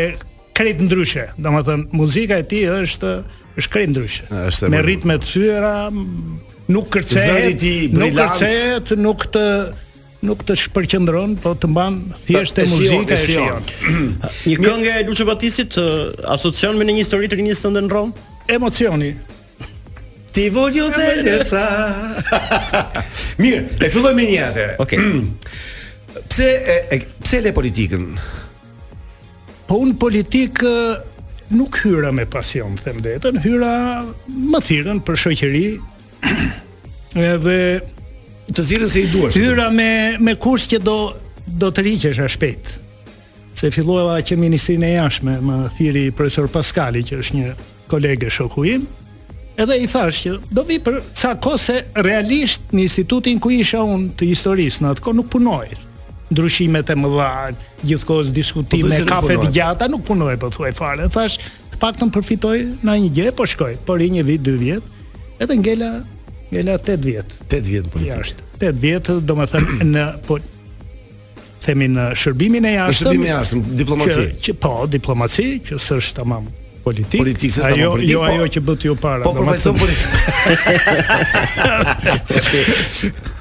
krejt ndryshe. Domethënë muzika e tij është është krejt ndryshe. Është e Me vërtetë. ritme të thyra, m- nuk Zëri i kërcehet, tij, nuk brilancë. kërcehet, nuk të nuk të shpërqendron, po të mban thjesht e e shijon, muzika e e shijon. shijon. Një këngë e Lucio Battisit ë, asocion me në një histori të rinisë tënde në Rom? Emocioni. Ti voglio bene sa. Mirë, e filloj me një atë. Okej. Pse e, e pse le politikën? Po unë politik ë, nuk hyra me pasion, them vetën, hyra më thirrën për shoqëri. Edhe të thirrën se i duash. Hyra me me kurs që do do të riqesh a shpejt. Se fillova që ministrinë e jashtme më thiri profesor Paskali që është një kolegë shoku im. Edhe i thash që do vi për ca kohë se realisht në institutin ku isha unë të historisë në atë kohë nuk punoj. Ndryshimet e mëdha, gjithkohës Po, diskutime, thuaj se nuk kafe të punoj. gjata, nuk punoj po thuaj fare. Thash, të paktën përfitoj në një gjë, po shkoj. Por i një vit, dy vjet, edhe ngela ngela 8 vjet. 8 vjet në politikë. Jashtë. 8 vjet, domethënë në po themi në shërbimin e jashtëm. shërbimin e jashtëm, diplomaci. Që, që po, diplomaci, që s'është tamam politik. Politik, s'është ajo, tamam politik, Jo po. ajo që bëti ju para. Po, përfaqëson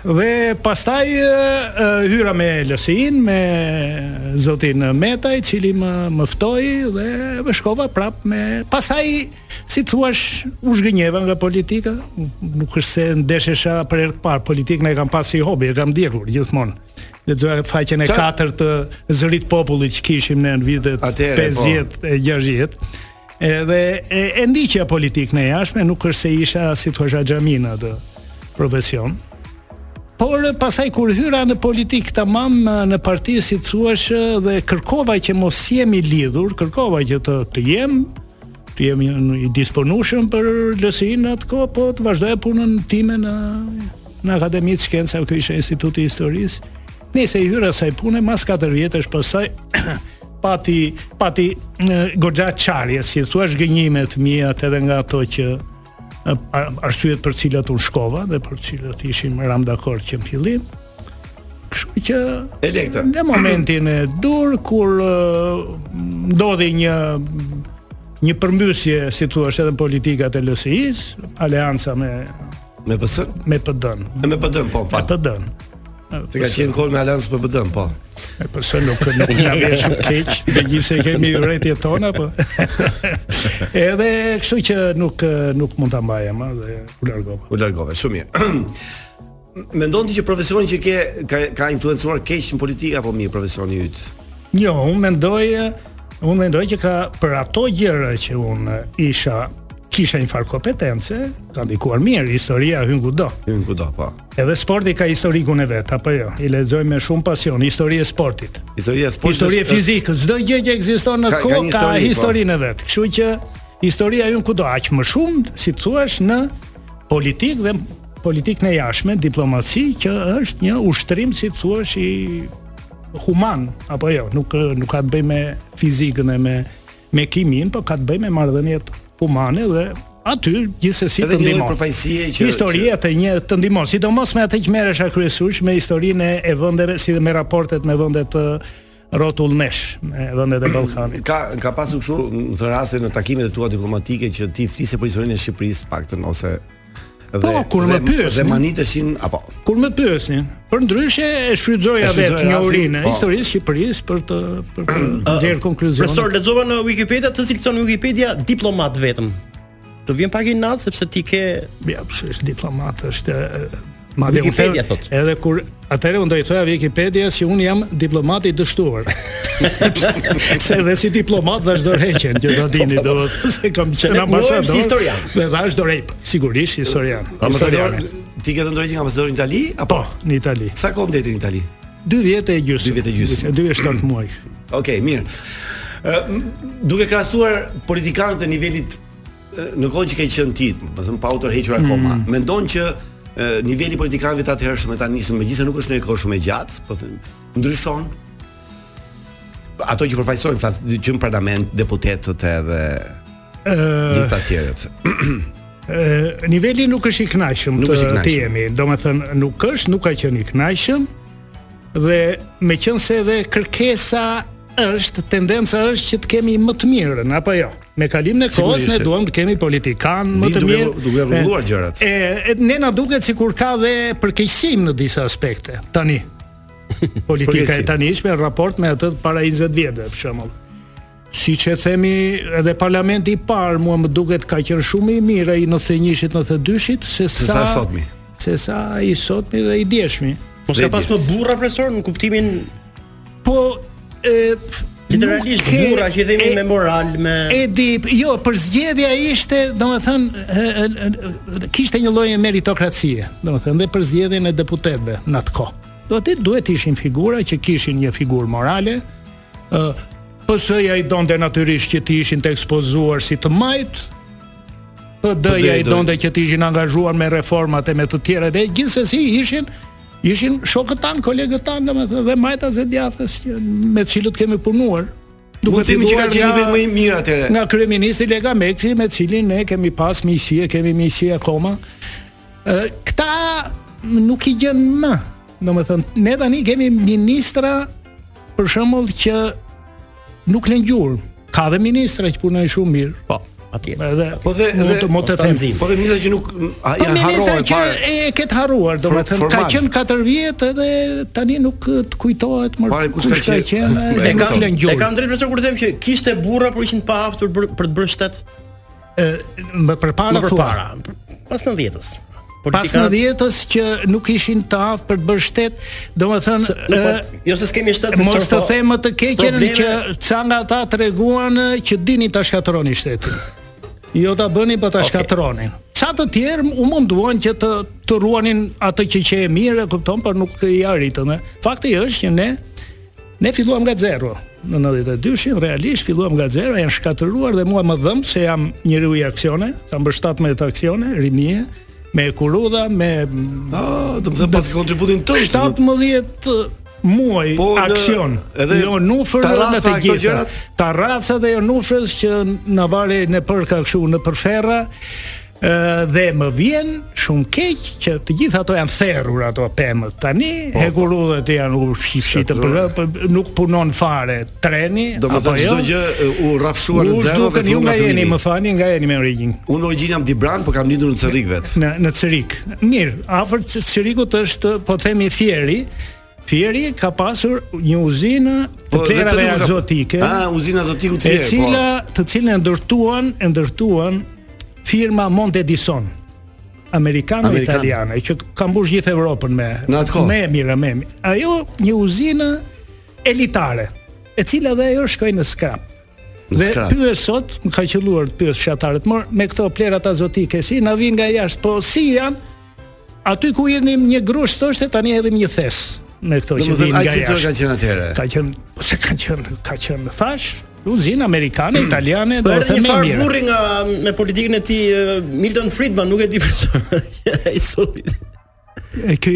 Dhe pastaj e, e, hyra me LSI-n me zotin Meta, i cili më më ftoi dhe më shkova prap me pastaj si thua u zhgënjeva nga politika, nuk është se ndeshesha për herë të parë, politikën e kam pas si hobi, e kam ndjekur gjithmonë. Lexoja faqen e Qa- 4 të zërit popullit që kishim ne në vitet Atëhere, po. 50 e 60. Edhe e, e ndiqja politikën e jashtme, nuk është se isha si thua xhamin atë profesion. Por e, pasaj kur hyra në politikë tamam e, në parti si thuash e, dhe kërkova që mos jemi lidhur, kërkova që të të jem të jem i- i disponueshëm për lësinë atë kohë, po të vazhdoj punën time në në Akademinë e Shkencave, kjo ishte Instituti i Historisë. Nëse i hyra saj pune mas 4 vjetësh pasaj pati pati e, goxha çarje, si thua zhgënjime të mia edhe nga ato që a- a- arsyet për cilat unë shkova dhe për cilat ishim ram dakord që në fillim. Kështu që Elektra. në momentin e dur kur ë, ndodhi një një përmbysje, si thua, edhe në politikat e LSI-s, aleanca me Me PS? me PD-n. Me PD-n, po, Me PD-n. Se ka qenë kol me Alansë për PD-n, po. E PS nuk nuk na vesh keq, megjithse kemi urrëtiet tona, po. Edhe kështu që nuk nuk mund ta mbaja më dhe u largova. U largove, shumë mirë. Mendon ti që profesioni që ke ka ka influencuar keq në politikë apo mirë profesioni yt? Jo, unë mendoj, unë mendoj që ka për ato gjëra që unë isha kisha një farë kompetence, ka ndikuar mirë, historia hyn kudo. Hyn kudo, po. Edhe sporti ka historikun e vet, apo jo? I lexoj me shumë pasion historia e sportit. Historia e sportit. Historia e fizikës, çdo gjë që ekziston në Ka- ka kohë një ka, histori, po. historinë e vet. Kështu që historia hyn kudo, aq më shumë, si thua, në politikë dhe politikën e jashtme, diplomaci që është një ushtrim si thua i human apo jo, nuk nuk ka të bëjë me fizikën e me me kimin, po ka të bëjë me marrëdhëniet humane dhe aty gjithsesi Edhe të një lloj ndihmon. përfaqësie që- historia të një të ndihmon, sidomos me atë që merresh kryesush me historinë e- e vendeve si dhe me raportet me vendet të rotullnesh, me vendet e Ballkanit. Ka ka pasur kështu në këtë raste në takimet e tua diplomatike që ti flise për historinë e Shqipërisë të paktën ose dhe Po, kur më dhe- pyesni. dhe maniteshin apo Kur më pyesnin, për ndryshe e E shfrytëzoja shfrytëzoj vetë një rastin, urinë po. historisë e Shqipërisë për të për të nxjerrë konkluzione. Profesor, lexova në Wikipedia të cilëson Wikipedia diplomat vetëm. Të vjen pak i natë sepse ti ke ja, është diplomat, është Madje unë Wikipedia them- thot. Edhe kur atëherë unë do i thoja Wikipedia si unë jam diplomat i dështuar. se edhe si diplomat vazhdor heqen që do dini do të thotë se kam Se qenë ne ambasador. punojmë si historian. Dhe vazhdor hej, sigurisht historian. ambasador Historian. ti ke të ndrojë që ambasador në Itali apo në Itali. Sa kohë ndeti në Itali? 2 vjetë e gjysmë. 2 vjetë e gjysmë. 2 vjetë 7 muaj. Okej, mirë. Ë m- duke krahasuar politikanët e nivelit ë, në kohë që ke qenë ti, më thënë pa u tërhequr akoma, Mm. mendon që ë, niveli i politikanëve të atëhershëm e tani së megjithëse nuk është në një kohë shumë e gjatë, po thënë, ndryshon ato që përfaqësojnë flas që në parlament deputetët edhe Ë, gjithë të tjerët. Ë, niveli nuk është i kënaqshëm Nuk të, është i të kënaqshëm. jemi. Domethënë nuk është, nuk ka qenë i kënaqshëm dhe meqense edhe kërkesa është tendenca është që të kemi më të mirën apo jo. Me kalimin e kohës Sigurisht ne që. duam të kemi politikan më Vin të duke- mirë. duke rregulluar E, gjërat. E, e ne na duket sikur ka dhe përkeqësim në disa aspekte tani. Politika e Përkeqësim. tanishme në raport me atë të para 20 vjetëve për shembull. Si që themi edhe parlamenti i parë mua më duket ka qenë shumë i mirë ai 91-shit 92-shit se Se sa sa sotmi. se sa i sotmi dhe i djeshmi. mos ka pas më burra profesor në kuptimin Po e literalisht nuk ke- burra që i themi me moral, me Edi, jo, për zgjedhja ishte, domethënë, e, e, e, kishte një lloj meritokracie, domethënë, dhe për zgjedhjen e deputetëve në atë kohë. Do të thotë, duhet ishin figura që kishin një figurë morale, ë PS-ja i donte natyrisht që të ishin të ekspozuar si të majt, PD-ja i doi. donte që të ishin angazhuar me reformat e me të tjera dhe gjithsesi ishin ishin shokët tan, kolegët tan, domethënë, dhe majtas e djathtas që- me të cilët kemi punuar. Mund të themi që ka filluar qenë nga- nivel më i mirë atëherë. nga kryeministri Lega Mekshi me cilin ne kemi pas miqësi, e kemi miqësi akoma. Ë këta nuk i gjën më. Domethënë, ne tani kemi ministra për shembull që nuk lën gjurmë. Ka dhe ministra që punojnë shumë mirë. Po, atje. Edhe Po dhe mund edhe të mos të them. Po dhe misa që nuk a, Po janë ministra harruar që fare. e ketë harruar, For- domethënë ka formal. qenë 4 vjet edhe tani nuk eh, të kujtohet më Pare, kush kush ka ka qenë? qenë. E E E ka kam lënë e kam drejt profesor kur them që kishte burra por ishin pa aftë për bër- për të bërë shtet. Më përpara Më përpara, thua. Pas 90-s. Pas në djetës që nuk ishin të aftë për të bërë shtet, domethënë Nuk eh, po, jo se s'kemi shtet profesor, Mos të po- them më të keqen probleme- që ca nga ata treguan eh, që dini ta shkatërroni shtetin. Jo ta bëni, po ta shkatërroni. Ca të tjerë u munduan që të të ruanin atë që që e mirë, e kupton, por nuk i arritën. eh. Fakti është që ne ne filluam nga zero. Në 92-shin realisht filluam nga zero, janë shkatëruar dhe mua më dhëm se jam njeriu i aksione, kam bërë 17 aksione, rinie, me kurudha, me Ah, do të thënë pas kontributin tënd. 17 muaj Po, në- aksion. edhe jo nufër edhe taraca, me të këto gjitha. gjërat? Taraca dhe jo nufrës që na vare në për ka kështu në përferra ë, dhe më vjen shumë keq që të gjithë ato janë therrur ato pemët. Tani po, hekurudhet janë u shifshit për për- nuk punon fare treni Do të apo thënë jo. çdo gjë e, u rrafshuar në U zero dhe zhdukën, ju fillu nga jeni, fillimi. më fani, nga jeni me origjinë. Unë origjin jam Dibran, po kam lindur në Cerrik vet. në në Cirik. Mirë, afër C- Cirikut është po themi Fieri. Fieri ka pasur një uzinë të Po, dhe plerave Cerriku ka- azotike. Ah, uzina azotiku E Fieri, po. cila, të cilën e ndërtuan, e ndërtuan firma Mont Edison Amerikan. amerikano-italiane që ka mbush gjithë Evropën me Në atë kohë. me e mira, me e mirë. Ajo një uzinë elitare, e cila dhe ajo shkoi në skrap. Në Dhe skrap. pyes sot, më ka qelluar të pyes fshatarët, mor me këto plerat azotike si na vijnë nga jashtë, po si janë? Aty ku jeni një grush thoshte tani hedhim një thes me këto që Domethënë vijnë ai nga cilësor ka jashtë. qenë atëherë. Ka qenë, po se ka qenë, ka qenë, thash, uzinë amerikane, italiane, Po do erdhi të një më farë mirë. burri nga me politikën e tij eh, Milton Friedman, nuk e di profesor. Ai solli. E ky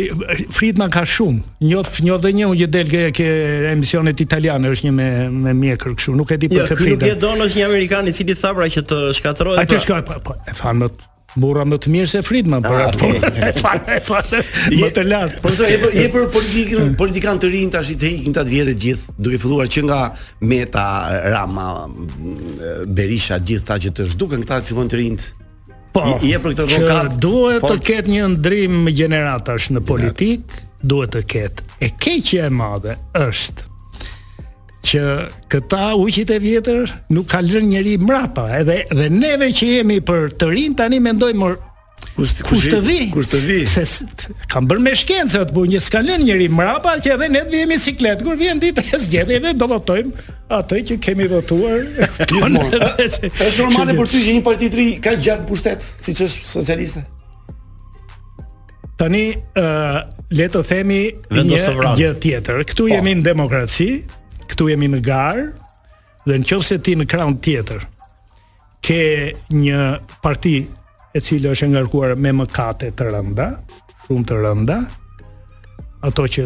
Friedman ka shumë. Njoh njoh dhe një unë që del ke, ke emisionet italiane është një me me mjekër kështu, nuk e di Jo, për këtë ky nuk e Friedman. don është një amerikan i cili tha pra që të shkatërrohet. Ai të shkoj po, po e fan më të- burra më të mirë se Friedman, por Ah, atë po e fan e fan më të lartë. Po mësoj, je për, je për politikën, politikan të rinj tash i të ikin ta të vjetë gjithë, duke filluar që nga Meta, Rama, m, Berisha, gjithë ta që të zhdukën këta të fillojnë të rinjt. Po, I- je për këtë që vokat, Duhet të forcë. ketë një ndrim gjeneratash në politik, duhet të ketë. E keqja e madhe është që këta uqit e vjetër nuk ka lënë njëri mrapa, edhe dhe neve që jemi për të rinj tani mendojmë mor Kush kush të vi? Kush të vi? Se s- t- kam bërë me shkencë atë punë, s'ka lënë njëri mrapa që edhe ne të vijemi siklet. Kur vjen dita e zgjedhjeve do votojmë atë që kemi votuar. Gjithmonë. Është normale Që- për ty që një parti të ri ka gjatë në pushtet, siç është socialiste. Tani ë le të themi Vendos një sovran. gjë tjetër. Po. Këtu jemi në demokraci, këtu jemi në garë dhe nëse ti në krahun tjetër ke një parti e cila është e ngarkuar me mëkate të rënda, shumë të rënda, ato që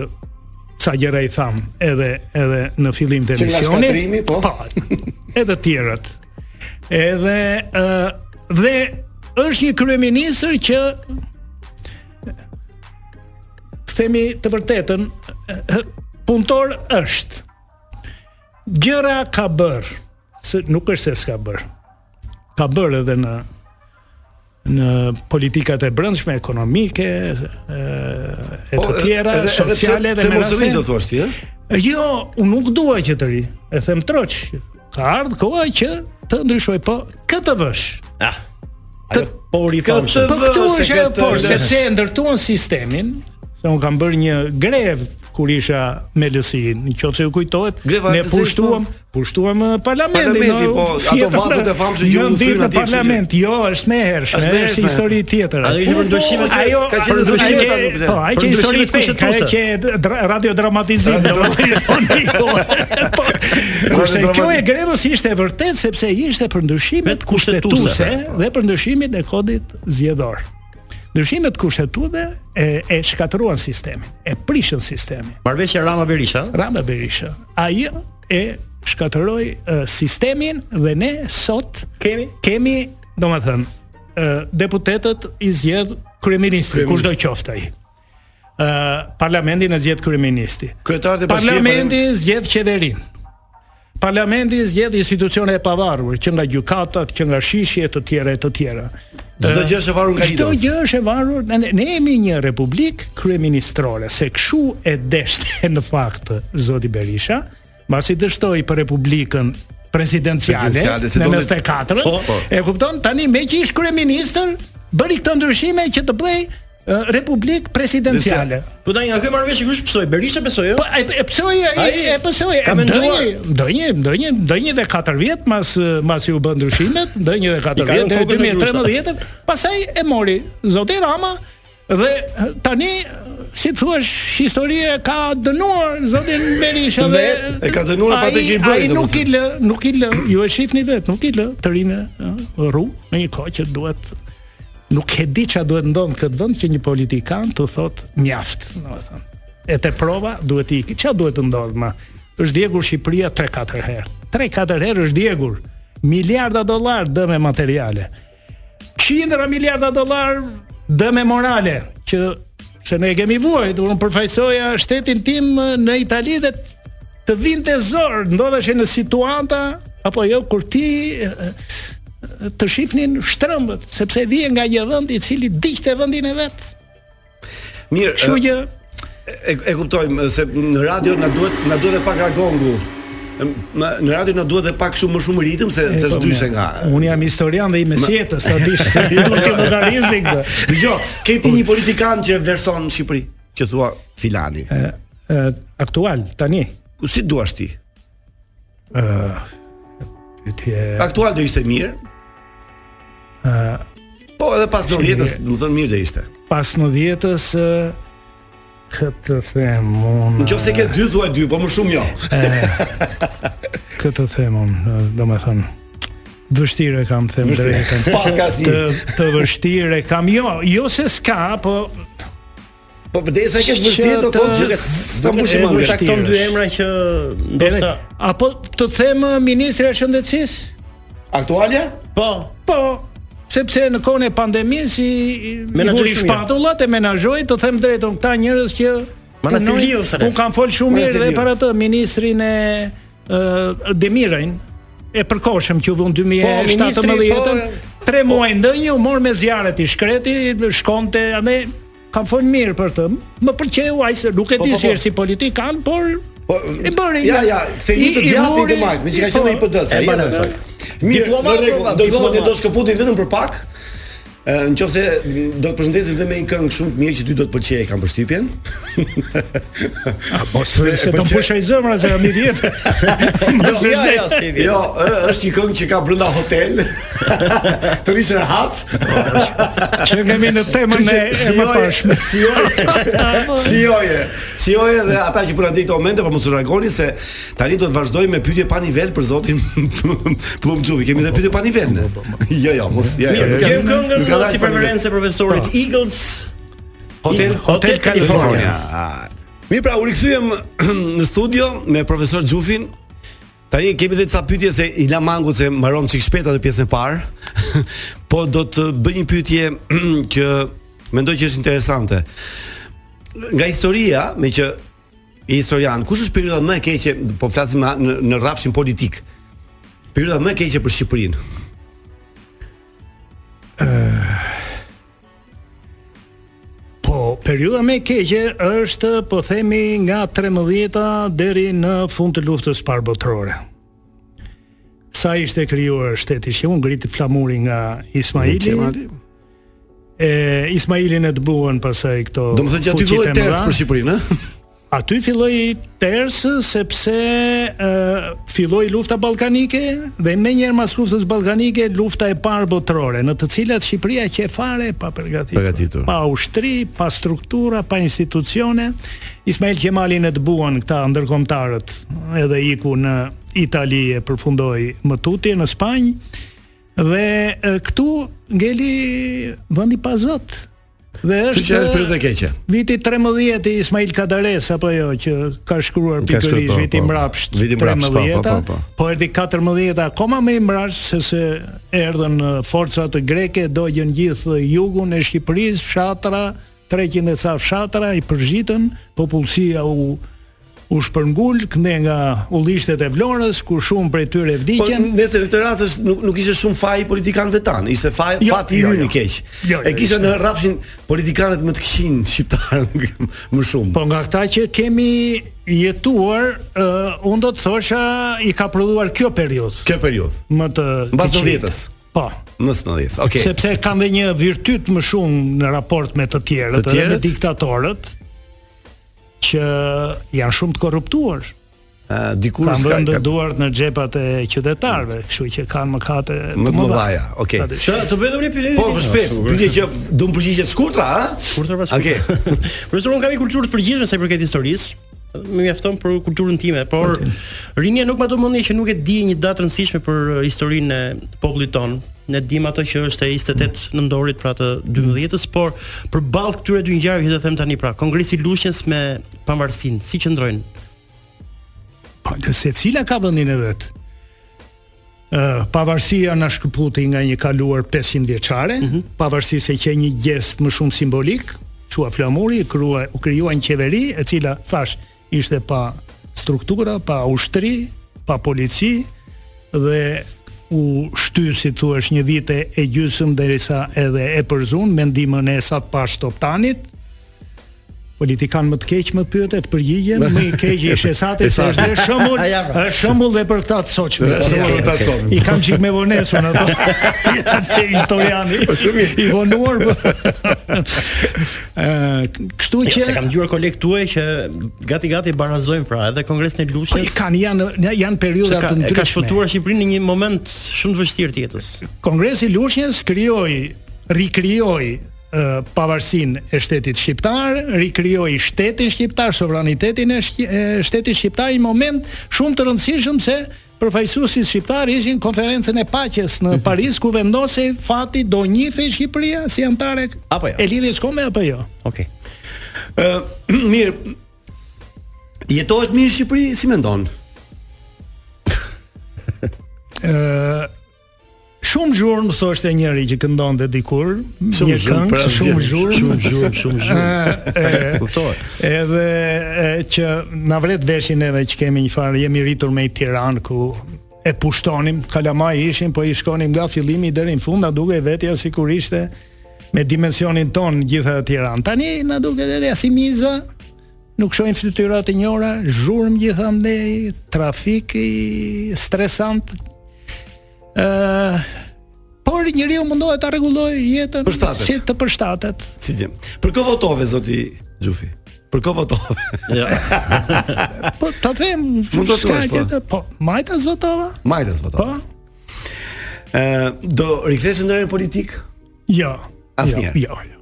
sa gjëra i tham edhe edhe në fillim të Që nga emisionit. shkatrimi, po. edhe tjerët. Edhe ë dhe është një kryeministër që të themi të vërtetën, ë, punëtor është. Gjëra ka bër, se nuk është se s'ka bër. Ka bër edhe në në politikat e brendshme ekonomike, ë Po, e Po, të tjera, sociale dhe me me raste. raste. do thuash ti, ë? Jo, unë nuk dua që të ri. E them troç. Ka ardhur koha që të ndryshoj, po këtë vësh. Ah. Ajo pori famshëm. Po këtu është ajo këtë por, vësh. sepse e ndërtuan sistemin, se unë kam bërë një grev kur isha me LSI-n, në qoftë se ju kujtohet, Greva e ne LSI-s, pushtuam, pushtuam eh, parlamentin. Parlamenti, no, po, ato fjetëm, vatet e famshme që jo u ndinë thyen në atje, kështu që- parlament, jo, është më hershme, Është më është hershme. histori tjetër. Po, Ajo ishte për ndryshime që- ajo ka qenë për ndryshime ndryshime, ato, kuptoj. Po, ai Për që histori ndryshime fake, ajo kushtetuese. që dra- radiodramatizim, radiodramatizim. Po, Kurse kjo e grevës ishte e vërtet sepse ishte për ndryshimet kushtetuese dhe për ndryshimin e kodit zgjedhor. Ndryshimet kushtetuese e, e shkatëruan sistemin, e prishën sistemin. Marrëveshja Rama Berisha. Rama Berisha. Ajo e shkatëroi e, sistemin dhe ne sot kemi kemi, domethënë, ë, deputetët i zgjedh kryeministri, kushdo qoftë ai. Ë parlamentin e zgjedh kryeministri. Kryetarët e bashkimit. Parlamenti zgjedh qeverinë. Parlamenti zgjedh institucione e pavarur, që nga gjykatat, që nga shishje të tjera e të tjera. Çdo gjë është e varur nga Çdo idos. gjë është e varur. Ne, ne jemi një republik kryeministrore, se kshu e deshte në fakt zoti Berisha, mbasi dështoi për republikën presidenciale Presidenciale, se në donte- 94, Po, po. e kupton tani me që ish kryeministër, bëri këto ndryshime që të bëj ë, republik presidenciale. Po tani nga ky marrë vesh që kush psoi, Berisha psoi ë? Po e, e psoi ai jo? Ai, e psoi. ka menduar? ndonjë ndonjë ndonjë dhe 4 vjet mas mas ju bën ndryshimet, ndonjë dhe 4 I ka vjet dhënë deri kokën në 2013, pastaj e mori zoti Rama dhe tani si thua historia ka dënuar zotin Berisha dhe Vet, e ka dënuar pa atë që i bëri, Ai nuk domethënë. i lë, nuk i lë, ju e shihni vet, nuk i lë të rinë ë, rru në një kohë që duhet nuk e di çfarë duhet ndodhë në këtë vend që një politikan të thotë mjaft, domethënë. E te prova duhet i ikë. Çfarë duhet të ndodhë më? Është djegur Shqipëria 3-4 herë. 3-4 herë është djegur. Miliarda dollar dëme materiale. Qindra miliarda dollar dëme morale që se ne e kemi vuajtur, unë përfaqësoja shtetin tim eh, në Itali dhe të vinte zor, ndodheshe në situata apo jo kur ti eh, të shifnin shtrëmbët, sepse vije nga një vend i cili diqte vendin e vet. Mirë. Kështu ë, që e, e kuptojmë ë, se në radio na duhet na duhet edhe pak ragongu. Ëm, ma- Në radio na duhet edhe pak shumë më shumë ritëm se se po, s'dyshe nga. Un jam historian dhe i mesjetës, ta dish. Duhet të logarizmi këtë. Dgjoj, ke po, ti një politikan që e vlerëson në Shqipëri, që thua filani. Ë, aktual tani. Ku si duash ti? Ë pyetje Aktual do ishte mirë. ë Po, edhe pas Si 90-s, mirë. do të thënë mirë do ishte. pas 90-s ë, këtë them unë. Nëse ke dy thua dy, po më shumë jo. këtë them unë, do me thënë vështirë e kam them Vështirë. drejtën. S'pas ka asnjë. Të, të vështirë e kam jo, jo se s'ka, po Po përderisa ke vështirë do thotë që ta mbushim më mendin. sakton dy emra që ndoshta apo të them ë, ministri e shëndetësisë? Aktualja? po. Po, sepse në kohën e pandemisë si Menaxhoi menaxhoi shumë mirë. shpatullat e menaxhoi, të them drejtën, këta njerëz që Manasiliu, punojnë- Salet. unë kam fol shumë mirë dhe Manasiliu. për atë ministrin e ë Demirajn e përkohshëm që u dhun Po, 2017 ministri, po, po, tre muaj ndonjë u mor me zjarret i shkreti, shkonte andaj kam fol mirë për të. Më pëlqeu ai se nuk e Po, di po, si po. është si politikan, por Po, e bëri. Ja, nga- ja, kthejmë i- të i djathtë vuri- të majt, me që ka po, qenë në IPD-s. e E bana, bana. bana. Mirë, Diploma, në rregull, prova, do të diploma. thonë do shkëputin vetëm për pak. Ë, Në qoftë se m, do të përshëndesim dhe me një këngë shumë të mirë që ty do të pëlqejë, kam përshtypjen. Po se se do pëlqej- mbushoj zemra se jam idiot. Mos Jo, është ne. jo, s'ke vjedhur. jo, ë, është një këngë që ka brenda hotel. Të rish rehat. Që kemi në temën e e më pashme. Shijoje. Shijoje. Shijoje dhe ata që punojnë këto momente po mos u reagoni se tani do të vazhdojmë me pyetje pa nivel për zotin Pllumxhuvi. Kemi edhe pyetje pa nivel. ne. Jo, jo, mos jo. jo, nuk ka- Kem këngën nuk ka dalë si pa nivel. preferencë e profesorit Eagles. Hotel Hotel California. Ah. Mirë pra, u rikthyem në studio me profesor Xhufin. Tani kemi edhe ca pyetje se i la mangut se mbaron çik shpejt atë pjesën e parë. po do të bëj një pyetje që mendoj që është interesante. Nga historia, me që i historian, kush është perioda më e keqe, po flasim na- në, në rrafshin politik. Perioda më e keqe për Shqipërinë. Po, periudha më e keqe është po themi nga 13-a deri në fund të luftës parëbotërore. Sa ishte krijuar shteti që unë griti flamuri nga Ismaili. E Ismailin e dëbuan pasaj këto. Do të thonë që aty fuqit e filloi ters mëdha. për Shqipërinë, ëh? Aty filloi Tersë sepse ë filloi lufta ballkanike dhe më njëherë mas luftës ballkanike lufta e parë botërore, në të cilat Shqipëria që e fare pa përgatitur. Përgatitur. Pa ushtri, pa struktura, pa institucione. Ismail Qemalin e dëbuan këta ndërkombëtarët, edhe iku në Itali e përfundoi më tutje në Spanjë. Dhe e, këtu ngeli vendi pa zot. Dhe Kështu që është periudha e keqe. Viti 13 i Ismail Kadares apo jo që ka shkruar Ka shkruar, pikërisht po, viti po, po. mbrapsht. Viti mbrapsht, po, po, 13-a, po, po. Po erdhi 14 akoma më i mbrapsht se se erdhën eh, forcat greke, dogjën gjithë jugun e Shqipërisë, fshatra, 300 e ca fshatra i përgjitën, popullsia u u shpërngul kënde nga ullishtet e Vlorës ku shumë prej tyre vdiqen. Po nëse në këtë rast është nuk nuk ishte shumë faj politikan vetan, ishte faj Jo, fati i jo, hyn i jo. keq. Jo, jo, e kisha ishte- në rrafshin politikanët më të këqin shqiptar më shumë. Po nga këta që kemi jetuar, uh, unë do të thosha i ka prodhuar kjo periudhë. Kjo periudhë. Më të Mbas të 90-s. Po. Më së 90-s. Okej. Sepse kanë dhe një virtyt më shumë në raport me të tjerët, Të edhe me tjerët? diktatorët që janë shumë të korruptuar. Ë, dikur kanë s'ka- vënë ka- duart në xhepat e qytetarëve, kështu që kanë mëkate Më të mëdha. mëdhaja, okay. Patyshim. vetëm një pyetje. Po, për shpejt, pyetje që do më përgjigjet shkurtra, ha? Shkurtra pas. Okej. Profesor, unë kam një kulturë të përgjithshme sa i përket historisë. Më mjafton për kulturën time, por rinia nuk më ato mendje që nuk e di një datë të rëndësishme për eh, historinë e popullit ton. Ne dim ato që është e 28 nëndorit pra të 12-s, por përballë këtyre dy ngjarjeve që do të them tani pra, Kongresi i Lushnjës me pavarësinë, si qëndrojnë? Po, dhe se cila ka vendin e vet. Ë, pavarësia na shkëputi nga një kaluar 500 vjeçare, pavarësisht se që një gest më shumë simbolik, çua flamuri, krua, u krijua një qeveri e cila thash ishte pa struktura, pa ushtri, pa polici dhe u shty si thua është një vite e gjysmë derisa edhe e përzun me ndihmën e Esat Pash Toptanit, politikan më të keq më pyetet, përgjigjen, më i keq i shesati se është dhe shembull, Ja, pra. është shembull dhe për këta të soçme. Është shembull për këta të soçme. I kam çik me vonesën ato. Ja se historiani. Po, shumë mirë. I vonuar. po. Ë, kështu Jo, që se kam dëgjuar kolegë tuaj që gati gati e barazojnë pra, edhe Kongresin e Po, Lushnjës. kanë janë janë se periudha ka, të e ndryshme. ka shpëtuar Shqipërinë në një moment shumë të vështirë të jetës. Kongresi i Lushnjës krijoi, rikrijoi ë, pavarësinë e shtetit shqiptar, rikrijoi shtetin shqiptar, sovranitetin e, shqi- e shtetit shqiptar një moment shumë të rëndësishëm se përfaqësuesit shqiptar ishin në konferencën e paqes në Paris ku vendosej fati do njihej Shqipëria si antare apo jo? E lidhjes kome apo jo? Okej. Ë, mirë. Jetohet mirë në Shqipëri, si mendon? ë Shumë zhurmë thoshte njëri që këndonte dikur, Shumë një zhurmë, këngë, pra, shumë zhurmë, zhurmë, shumë zhurmë, shumë zhurmë. Ë, e, Kuptoj. Edhe e, që na vret veshin edhe që kemi një farë, jemi rritur me i Tiranë ku e pushtonim, kalamaj ishin, po i shkonim nga fillimi deri në fund, na dukej vetja sikur ishte me dimensionin ton gjithë Tiranë. Tani na duket edhe si miza, nuk shohim fytyrat e njëra, zhurmë gjithandej, trafik i stresant. ë por njeriu mundohet ta rregullojë jetën Përshtatet. si të përshtatet. Si gjë. Për kë votove zoti Xhufi? Për kë votove? Jo. Po ta them, Mund të s'ka thuash, po. tjetër, po majta zvotova? Majtas votove. Po. Ë, do rikthesh në ndërën politik? Jo. Asnjëherë. Jo, jo. jo.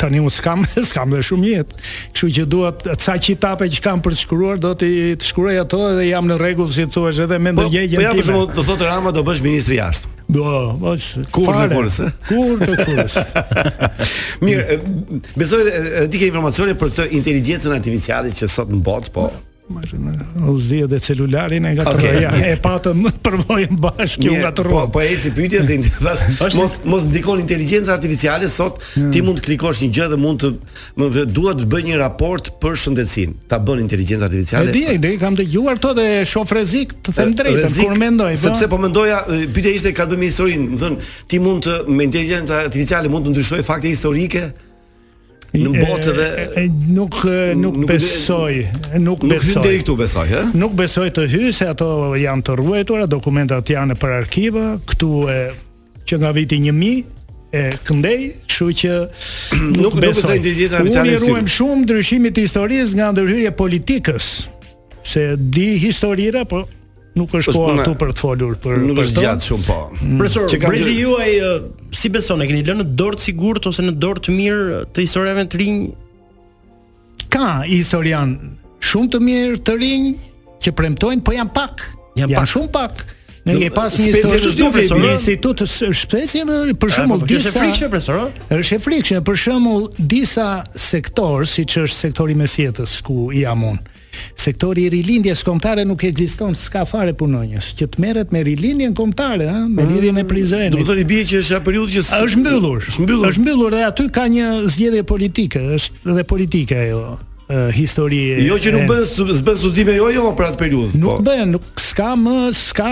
Tani unë s'kam, s'kam dhe shumë jetë. Kështu që duat ca qitape që kam për të shkruar, do t'i të shkruaj ato dhe jam në rregull si thua, edhe me Po, po ndërgjegjen ja për time. shembull, do thotë Rama do bësh ministri i jashtë. Do, po, s- Kur fare. në kurës, e? Kur në kurës. Mirë, Mm. e, besoj e, e, ti ke informacione për këtë inteligjencën artificiale që sot në botë, po. U zdi edhe celularin e gatroj. Okej, ja, mirë. e patëm përvojën bashkë ju Mirë, gatroj. Po, po eci pyetje se thash, mos mos ndikon inteligjenca artificiale sot, Mm. ti mund të klikosh një gjë dhe mund të më vë- dua të bëj një raport për shëndetësinë. Ta bën inteligjenca E artificiale. di, e di, kam dëgjuar këto dhe shoh rrezik, të them drejtën, Rrezik, kur mendoj, po. Sepse po mendoja, e, pyetja ishte ka bënë me historinë, më thënë, ti mund të me inteligjenca artificiale mund të ndryshoj fakte historike në E, botë dhe e, nuk e, nuk nuk- besoj, nuk nuk hyn besoj. deri këtu besoj, ë? Nuk besoj të hy se ato janë të ruajtura, dokumentat janë për arkiva, këtu e që nga viti 1000 e këndej, kështu që Nuk- nuk besoj inteligjenca artificiale Unë i është ruajm shumë ndryshimit të historisë nga ndërhyrje politikës. Se di historira, po nuk është Është koha puna- këtu për të folur për Nuk për është to. gjatë shumë po. Mm. Profesor, Që kam brezi gjë- juaj ë, si beson e keni lënë në dorë të sigurt ose në dorë të mirë të historiave të rinj? Ka historian shumë të mirë të rinj që premtojnë, po janë pak. Janë, pak. shumë pak. Ne kemi pas një specialist histori nuk e një bie. institut të s- shpecie në- për Po, shembull po, kjo disa është e frikshme profesor? ë? Është e frikshme për shembull disa sektor, siç është sektori i mesjetës ku jam unë. Sektori i rilindjes kombëtare nuk ekziston, s'ka fare punonjës, që të merret me rilindjen kombëtare, ëh, me lidhjen Mm, e Prizrenit. Do të thonë i bie që është ajo periudhë që s- Është mbyllur. Është mbyllur. Është mbyllur dhe aty ka një zgjedhje politike, është edhe politike ajo. uh, histori e Jo që nuk e- bën stu- s'bën studime jo jo për atë periudhë. Nuk bën, nuk s'ka më, s'ka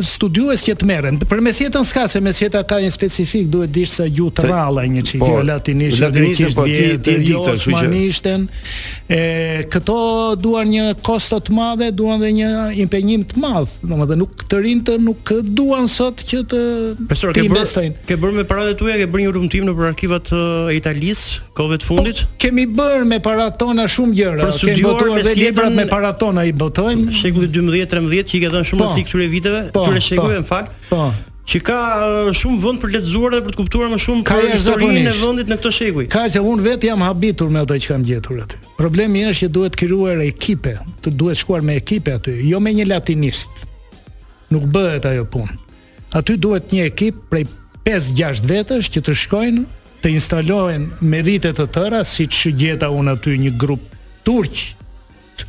studiues që të merren. Për mesjetën s'ka, se mesjeta ka një specifik, duhet dish sa gjuhë të Se- ralla një çik, po, jo latinisht, latinisht, greqisht, po, ti- vjetër, ti e di jo këtë, kështu që- osmanishtën. E këto duan një kosto të madhe, duan dhe një impenjim të madh. Domethënë nuk të rinjtë nuk duan sot që të Profesor, të ke bërë investojnë. ke bërë me paratë tuaja, ke bërë një rumtim nëpër arkivat eh, e Italisë kohëve të fundit? Kemi bërë me parat tona shumë gjëra. Për Kemi studiuar botuar dhe mesjetën- librat me parat tona i botojmë. Shekulli 12-13 që i ka dhënë shumë Po. rëndësi këtyre viteve, Po, këtyre shekujve, po. më fal. Po. Që ka eh, shumë vend për të lexuar dhe për të kuptuar më shumë Ka për historinë e jashtëzakonisht. vendit në këtë shekuj. Ka që unë vetë jam habitur me ato që kam gjetur aty. Problemi është që duhet krijuar ekipe, të duhet shkuar me ekipe aty, jo me një latinist. Nuk bëhet ajo punë. Aty duhet një ekip prej 5-6 vetësh që të shkojnë, të instalohen me rite të tëra, siç gjeta unë aty një grup turq,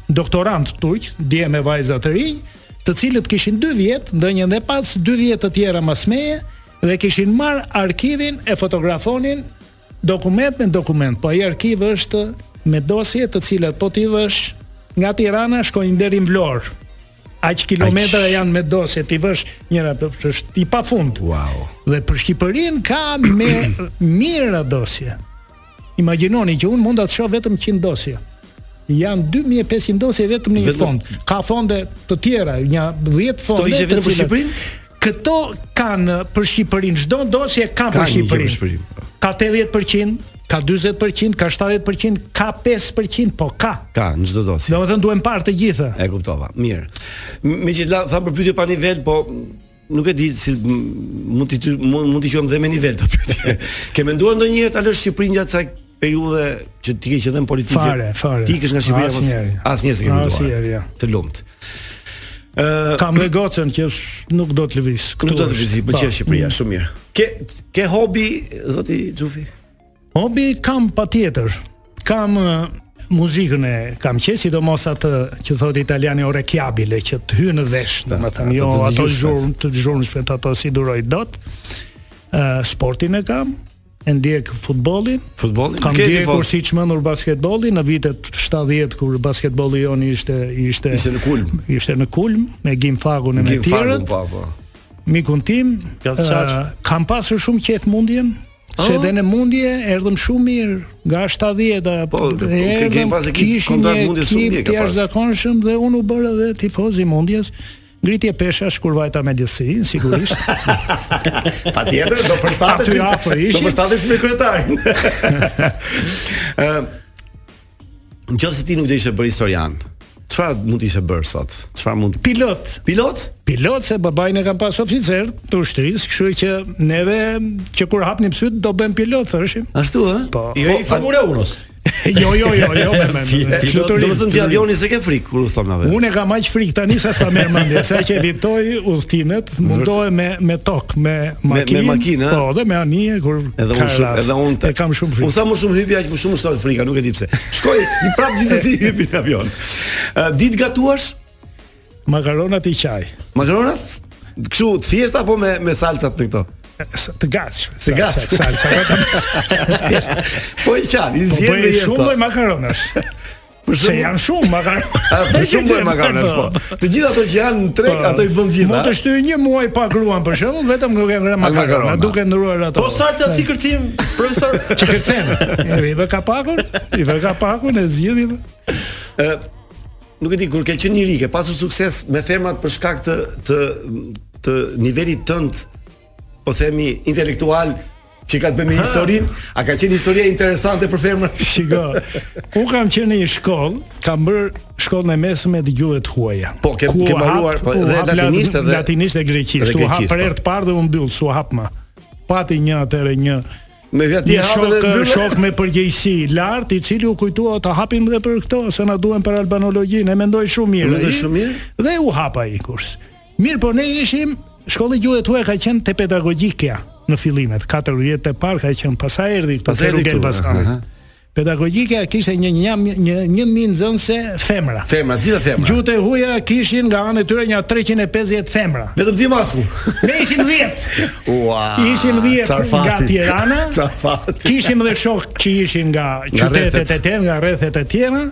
doktorant turq, dje me vajza të rinj, të cilët kishin 2 vjet, ndonjë dhe pas 2 vjet të tjera mas meje dhe kishin marr arkivin e fotografonin dokument me dokument, po ai arkiv është me dosje të cilat po ti vësh nga Tirana shkojnë deri në Vlorë. Aq kilometra janë me dosje, ti vësh njëra për- është i pafund. Wow. Dhe për Shqipërinë ka me mira dosje. Imagjinoni që unë mund ta shoh vetëm 100 dosje. Janë 2500 dosje vetëm në një Vetëm- fond. Ka fonde të tjera, një 10 fonde. Kto të ishte vetëm për cilat- Shqipërinë? Këto kanë për Shqipërinë, çdo dosje ka Ka për një gjë për Shqipërinë. Shqipërinë. Ka 80%, ka 40%, ka 70%, ka 5%, po ka. Ka në çdo dosje. Domethënë duhen parë të gjitha. E kuptova. Mirë. M- Me që la tha për pyetje pa nivel, po m, nuk e di si m, mund ti ty- mund mund ti quajmë dhe me nivel të pyetje. Ke menduar ndonjëherë ta lësh Shqipërinë gjatë kësaj periudhe që ti ke qenë në politikë? Fare, fare. Ti ikësh nga Shqipëria mos- Asnjëherë. Asnjëherë s'ke menduar. Asnjëherë, ja. Të lumt. Ë Kam dhe gocën që s- nuk do të lëviz. Nuk do të është. vizit, pëlqen Po. Shqipëria, shumë mirë. Ke ke hobi zoti Xhufi? Hobi kam patjetër. Kam ë, muzikën e kam qenë, sidomos atë që thot italiani orecchiabile, që të hynë në vesh, domethënë jo ato të ato dëgjueshmet. zhurmë, të zhurmshme ato si duroj dot. Ë sportin e kam, e ndjek futbollin. Futbollin? Kam Ke ndjekur tifoz? si çmendur basketbollin në vitet 70 kur basketbolli jon ishte ishte Ishte në kulm. Ishte në kulm me Gim Fagun e me Gjim Fargun tjerët po po. mikun tim, Pjatë Shaq. ë, kam pasur shumë qejf mundjen, se Ah. edhe në mundje erdhëm shumë mirë nga 70-a. Po, ke- ke- kemi pas ekip, kishin kontrakt një mundjes shumë ekip mirë ka të pas. jashtëzakonshëm dhe unë u bëra edhe tifoz i mundjes. Ngritje pesha shkurvajta me djesi, sigurisht. Patjetër do përshtatesh. Aty afër ishin. Do përshtatesh me kryetarin. Ëm Nëse ti nuk do ishe bërë historian, çfarë mund të ishe bërë sot? Çfarë mund Pilot. Pilot? Pilot se babajnë e kam pas oficer të ushtrisë, kështu që neve që kur hapnim syt do bëjmë pilot thëshim. Ashtu ë? Po. Jo i favore unos. jo, jo, jo, jo, me me. me- me- Pilot, do fluturim, të thonë ti fluturim. avioni se ke frikë kur u thon na vetë. Unë e kam aq frikë tani sa sa merr mendje, sa që evitoj udhëtimet, mundohem me me tok, me makinë. me makinë, ha? po, dhe me anije kur Edhe ka unë shumë, rast. edhe unë e kam shumë frikë. Unë sa më shumë hypi aq më shumë shtohet frika, nuk e di pse. Shkoj, di prap gjithsesi hypi në avion. Ë, Ditë gatuash Makaronat i qaj. makaronat? Kështu thjesht apo me me salcat në këto? Sa- Të gatshme. Të gatshme. Sa sa Po i qanë, i Po zgjedh bëj dhe jetë. shumë lloj makaronash. Për Se shembull- janë shumë A, makaronash. për shumë lloj makaronash, po. Të gjitha ato që janë në treg, Po. ato i bën gjitha. Mund të shtyj një muaj pa gruan për shembull, vetëm nuk e vren makarona, makarona. duke ndruar ato. Po salca si kërcim, profesor. që kërcen. I vë kapakun, i vë kapakun e zgjidhim. Nuk e di kur ke qenë i ri, ke pasur sukses me femrat për shkak të të të nivelit tënd, po themi intelektual që ka të bëjë me historinë, a ka qenë historia interesante për femrat? Shiko, un kam qenë në një shkollë, kam bër shkollën e mesme me dëgjuhet huaja. Po, ke- Ku ke u hap- mbaruar, po, ku u dhe hap latinisht edhe- latinisht dhe greqisht. dhe U hap greqisht, për po. herë të parë dhe u mbyll, su hap më. Pati një atëre një Me vetë ti Një hapë shok, dhe mbyllë. shok me përgjegjësi lart, i cili u kujtua ta hapim edhe për këto, se na duhen për albanologjinë, e mendoj shumë mirë. Mendoj ai, shumë mirë. Dhe u hap ai kurs. Mirë, po ne ishim shkolla gjuhë e tuaj ka qenë te pedagogjikja në fillimet, 4 vjet e parë ka qenë, pastaj erdhi këtu Pastaj te erdhi Rugel këtu, aha. Baskari. Pedagogjike kishte një një një një mijë nxënëse femra. Femra, gjithë femra. Gjuhët e huaja kishin nga anë e tyre një 350 femra. Vetëm ti masku. Ne ishim 10. Ua. Ishim 10 nga Tirana. Çfarë? Kishim dhe shok që ishin nga qytetet e tjera, nga rrethet e tjera.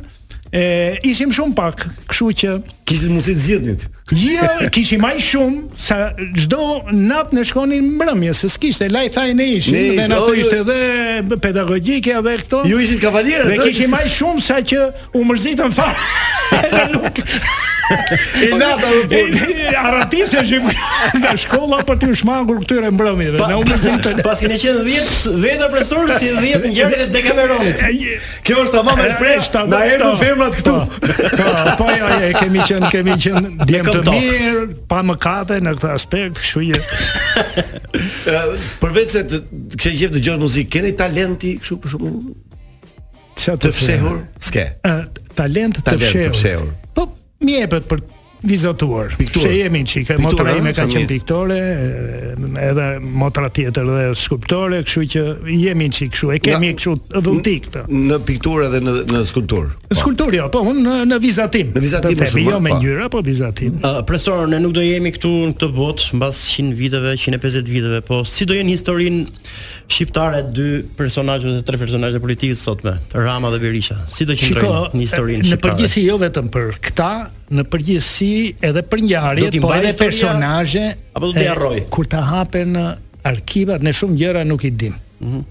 E ishim shumë pak, kështu që kishit mundësi të zgjidhnit. Jo, kishim më shumë sa çdo natë ne shkonin mbrëmje, se s'kishte laj thaj ne ishim, Ne dhe ishim, na o, ishte edhe pedagogjike edhe këto. Ju ishit kavalierë, Dhe do, kishim më shumë sa që u mërzitën fat. Edhe nuk I nata po. dhe punë. Aratiseshim nga shkolla për të shmangur këtyre mbrëmjeve. Na u mërzitën. Pas kene qenë 10 vetë profesor si 10 ngjarjet e Dekameronit. Kjo është tamam e shpresht. Eshta, Na erdhën po. femrat këtu. Po, po jo, jo, kemi qenë, kemi qenë djem të këmtok. mirë, pa mëkate në këtë aspekt, kështu që Ë, Përveç se të kishe qejf dëgjosh muzikë, keni talenti kështu për shkakun Sa të fshehur? S'ke. Ë, talent të Talent të fshehur. fshehur. Po mi jepet për vizotuar. Piktur. Se jemi çikë, Piktur, motra ëh, ime ka sa qenë mirë. piktore, e, edhe motra tjetër dhe skulptore, kështu që jemi çikë kështu, e kemi Nga- kështu dhuntik këtë. Në pikturë edhe në në skulpturë. Skulptur jo, po unë në, në vizatim. Në vizatim më shumë, jo me po. ngjyra, po vizatim. Uh, profesor, ne nuk do jemi këtu në këtë botë mbas 100 viteve, 150 viteve, po si do jenë historinë shqiptare dy personazhe dhe tre personazhe politikë sotme, Rama dhe Berisha. Si do Shiko, qëndrojnë në historinë në shqiptare? përgjithësi jo vetëm për këta, në përgjithësi edhe për Do ngjarjet, t'i po mbajë edhe historia, personazhe apo do t'i e, harroj? Kur ta hapen në arkivat, ne shumë gjëra nuk i dim. Mhm.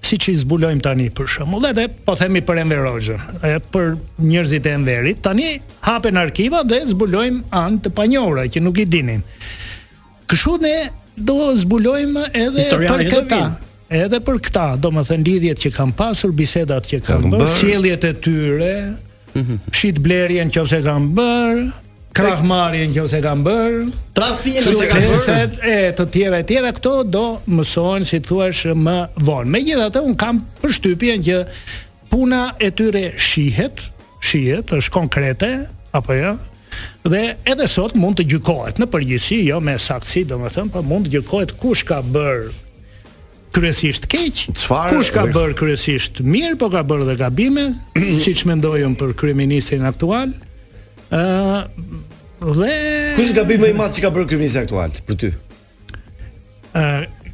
Si që i zbulojmë tani për shembull, edhe po themi për Enver Hoxhën, e për njerëzit e Enverit, tani hapen arkivat dhe zbulojmë anë të panjohura që nuk i dinin. Kështu ne do zbulojmë edhe për Historianët do këta. vinë. Edhe për këta, do më thënë lidhjet që kam pasur, bisedat që kam Kam bërë, bërë. sjelljet e tyre, shit blerjen nëse kam bërë, krahmarjen nëse kam bërë, Tradhtin që ka bërë. sukceset e të tjera e tjera këto do mësohen si thuash më vonë. Megjithatë un kam përshtypjen që puna e tyre shihet, shihet, është konkrete apo jo? Dhe edhe sot mund të gjykohet në përgjithësi, jo me saktësi, domethënë, por mund të gjykohet kush ka bër kryesisht keq, Çfarë- kush ka bër kryesisht mirë, po ka bër dhe gabime, siç mendoj unë për kryeministrin aktual. ë dhe Kush gabim më i madh që ka bërë kriminalisti aktual për ty? Ë,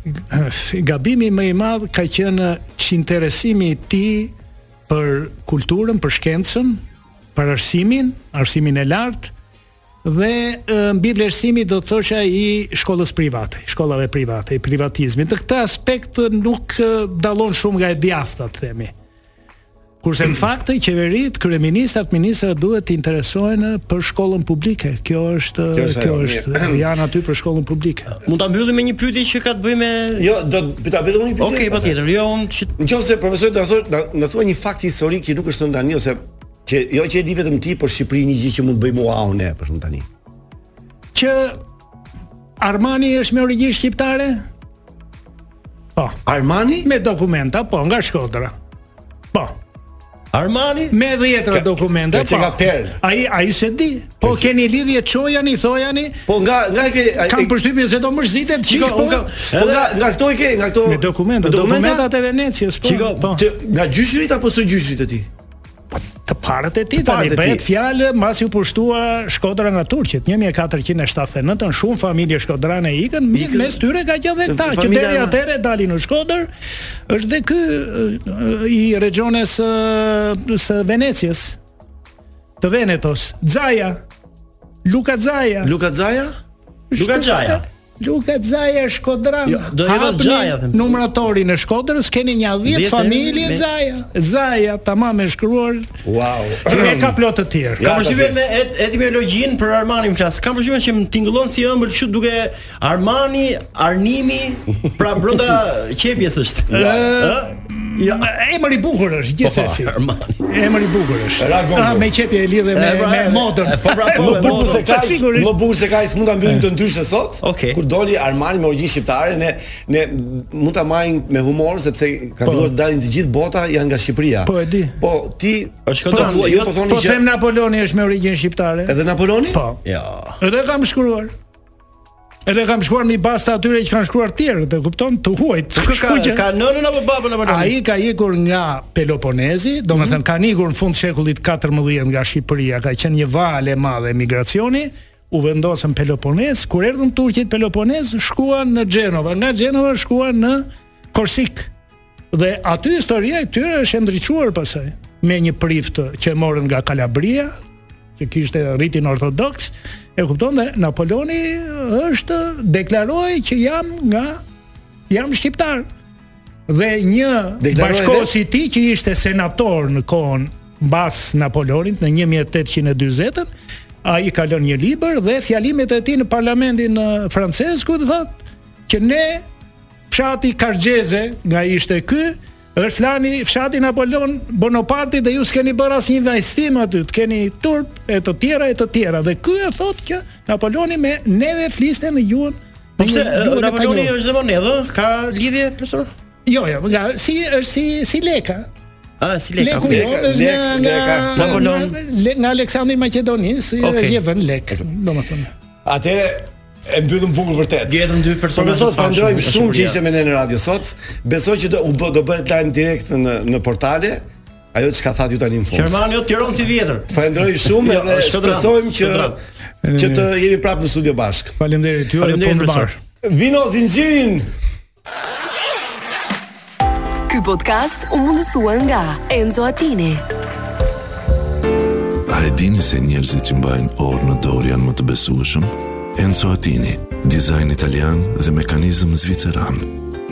g- gabimi më i madh ka qenë çinteresimi i tij për kulturën, për shkencën, për arsimin, arsimin e lartë dhe ë, mbi vlerësimi do të thosha i shkollës private, shkollave private, i privatizmit. Në këtë aspekt ë, nuk ë, dallon shumë nga e djathta, të themi. Kurse në fakt qeveritë, kryeministrat, ministrat duhet të interesohen ë, për shkollën publike. Kjo është Kjo është kjo ajo, është, mirë. janë aty për shkollën publike. Mund ta mbyllim me një pyetje që ka të bëjë me Jo, do të ta bëj unë një pyetje. Okej, patjetër. Jo, unë që Nëse profesor do të thotë, na, na thuaj një fakt historik që nuk është thënë tani ose që jo që e di vetëm ti, por Shqipërinë një gjë që mund të bëjmë mua unë për shkak tani. që Armani është me origjinë shqiptare? Po, Armani? me dokumenta, po, nga Shkodra. Po, Armani? me 10 Ka- dokumenta, po. ka që ka perl. Ai ai se di. Po keni lidhje çojani, thojani. Po nga nga ke ai- Kam përshtypjen se do mërzitet çik. Shiko, unë kam, po nga nga këto i ke, nga këto me dokumenta, dokumentat e Venecijës, po. Shiko, po. që nga gjyshrit apo së gjyshrit e ti? të parët e ti Të tani parët e bëhet ti. fjalë mbasi u pushtua Shkodra nga turqit 1479 në shumë familje shkodrane ikën Ikën. mirë mes tyre ka qenë edhe këta që Familja deri arma. atëherë dalin në Shkodër është dhe ky ë, i regiones së së Venecijës të Venetos Zaja Luka Zaja Luka Xhaja? Luka Xhaja. Luka Zaja Shkodran. Jo, do jetë Hapni Xhaja, them. Numratorin e Shkodrës keni një 10 Dhjetë familje me- Zaja. Zaja tamam e shkruar Wow. e ka plot të tjerë. Ja, Kam përshtypjen tash. me et, etimologjinë për Armani më flas. Kam përshtypjen që më tingëllon si ëmbël kështu duke Armani, Arnimi, pra brenda qepjes është. Ë? Ja. Emër i bukur është gjithsesi. Po, Armani. Emër i bukur është. Ragongo. A, me qepje e lidhe me, E, pra, me e, modën. e, po, pra, po, Më me bukur se ka, sigurisht. më bukur se ka, s'mund ta mbyllim të ndryshe sot. Okej. Kur doli Armani me origjinë shqiptare, ne ne mund ta marrim me humor sepse ka Po. filluar të dalin të gjithë bota janë nga Shqipëria. Po, e di. Po ti Është Shkodran, po thua, ju po thoni Po që them Napoloni është me origjinë shqiptare. edhe Napoloni? Po. Jo. Edhe kam shkruar. Edhe kam shkuar mi basta atyre që kanë shkruar tjerë, dhe kupton, të huajt. Kë ka ka nënën apo babën apo Ai ka ikur nga Peloponezi, domethënë mm -hmm. kanë ikur në fund shekullit 14 nga Shqipëria, ka qenë një valë e madhe emigracioni, u vendosën Peloponez, kur erdhën turqit Peloponez, shkuan në Gjenova, nga Gjenova shkuan në Korsik. Dhe aty historia e tyre është e ndriçuar pasaj me një priftë që e morën nga Kalabria, që kishte rritin ortodoks, e kupton dhe Napoloni është deklaroi që jam nga jam shqiptar. Dhe një Deklaroi bashkos i tij që ishte senator në kohën mbas Napolonit në 1840-ën, ai ka lënë një libër dhe fjalimet e tij në parlamentin eh, francez ku të thotë që ne fshati Kargjeze, nga ishte ky, është flani fshati Napoleon Bonaparte dhe ju s'keni bërë asnjë investim aty, të keni turp e të tjera e të tjera. Dhe ky e thotë që Napoleoni me neve fliste në gjuhën Po pse në gjuhën eh, e Napoleoni Paleo. është dhe monedhë? Ka lidhje profesor? Jo, jo, nga si është si si leka. Ah, si leka. Leku Leka, jonë është leka, nga nga leka. Napoleon. nga- le- nga Aleksandri i Maqedonisë, Okej. okay. je vën lek, domethënë. Atëre e mbyllëm bukur vërtet. Gjetëm dy persona Por të Po sot pashëm, falenderojmë nga shumë që Shqipëria. ishte me ne në radio sot. Besoj që do u bë, do bëhet lajm direkt në në portale. Ajo çka thatë ju tani në fund. Gjermani jo o Tiranë si vjetër. Të Falenderoj shumë Jo, edhe është Shkodran, shpresojmë që Shkodran. që të jemi prapë në studio bashkë. Faleminderit ju edhe punë mbar. Vino zinxhirin. Ky podcast u mundësua nga Enzo Attini. A e dini se njerëzit që mbajnë orë në dorë janë më të besueshëm? Enzo Attini, dizajn italian dhe mekanizëm zviceran.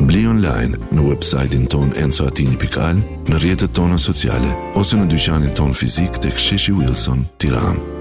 Bli online në websajtin ton enzoatini.al, në rrjetet tona sociale ose në dyqanin ton fizik tek Sheshi Wilson, Tiranë.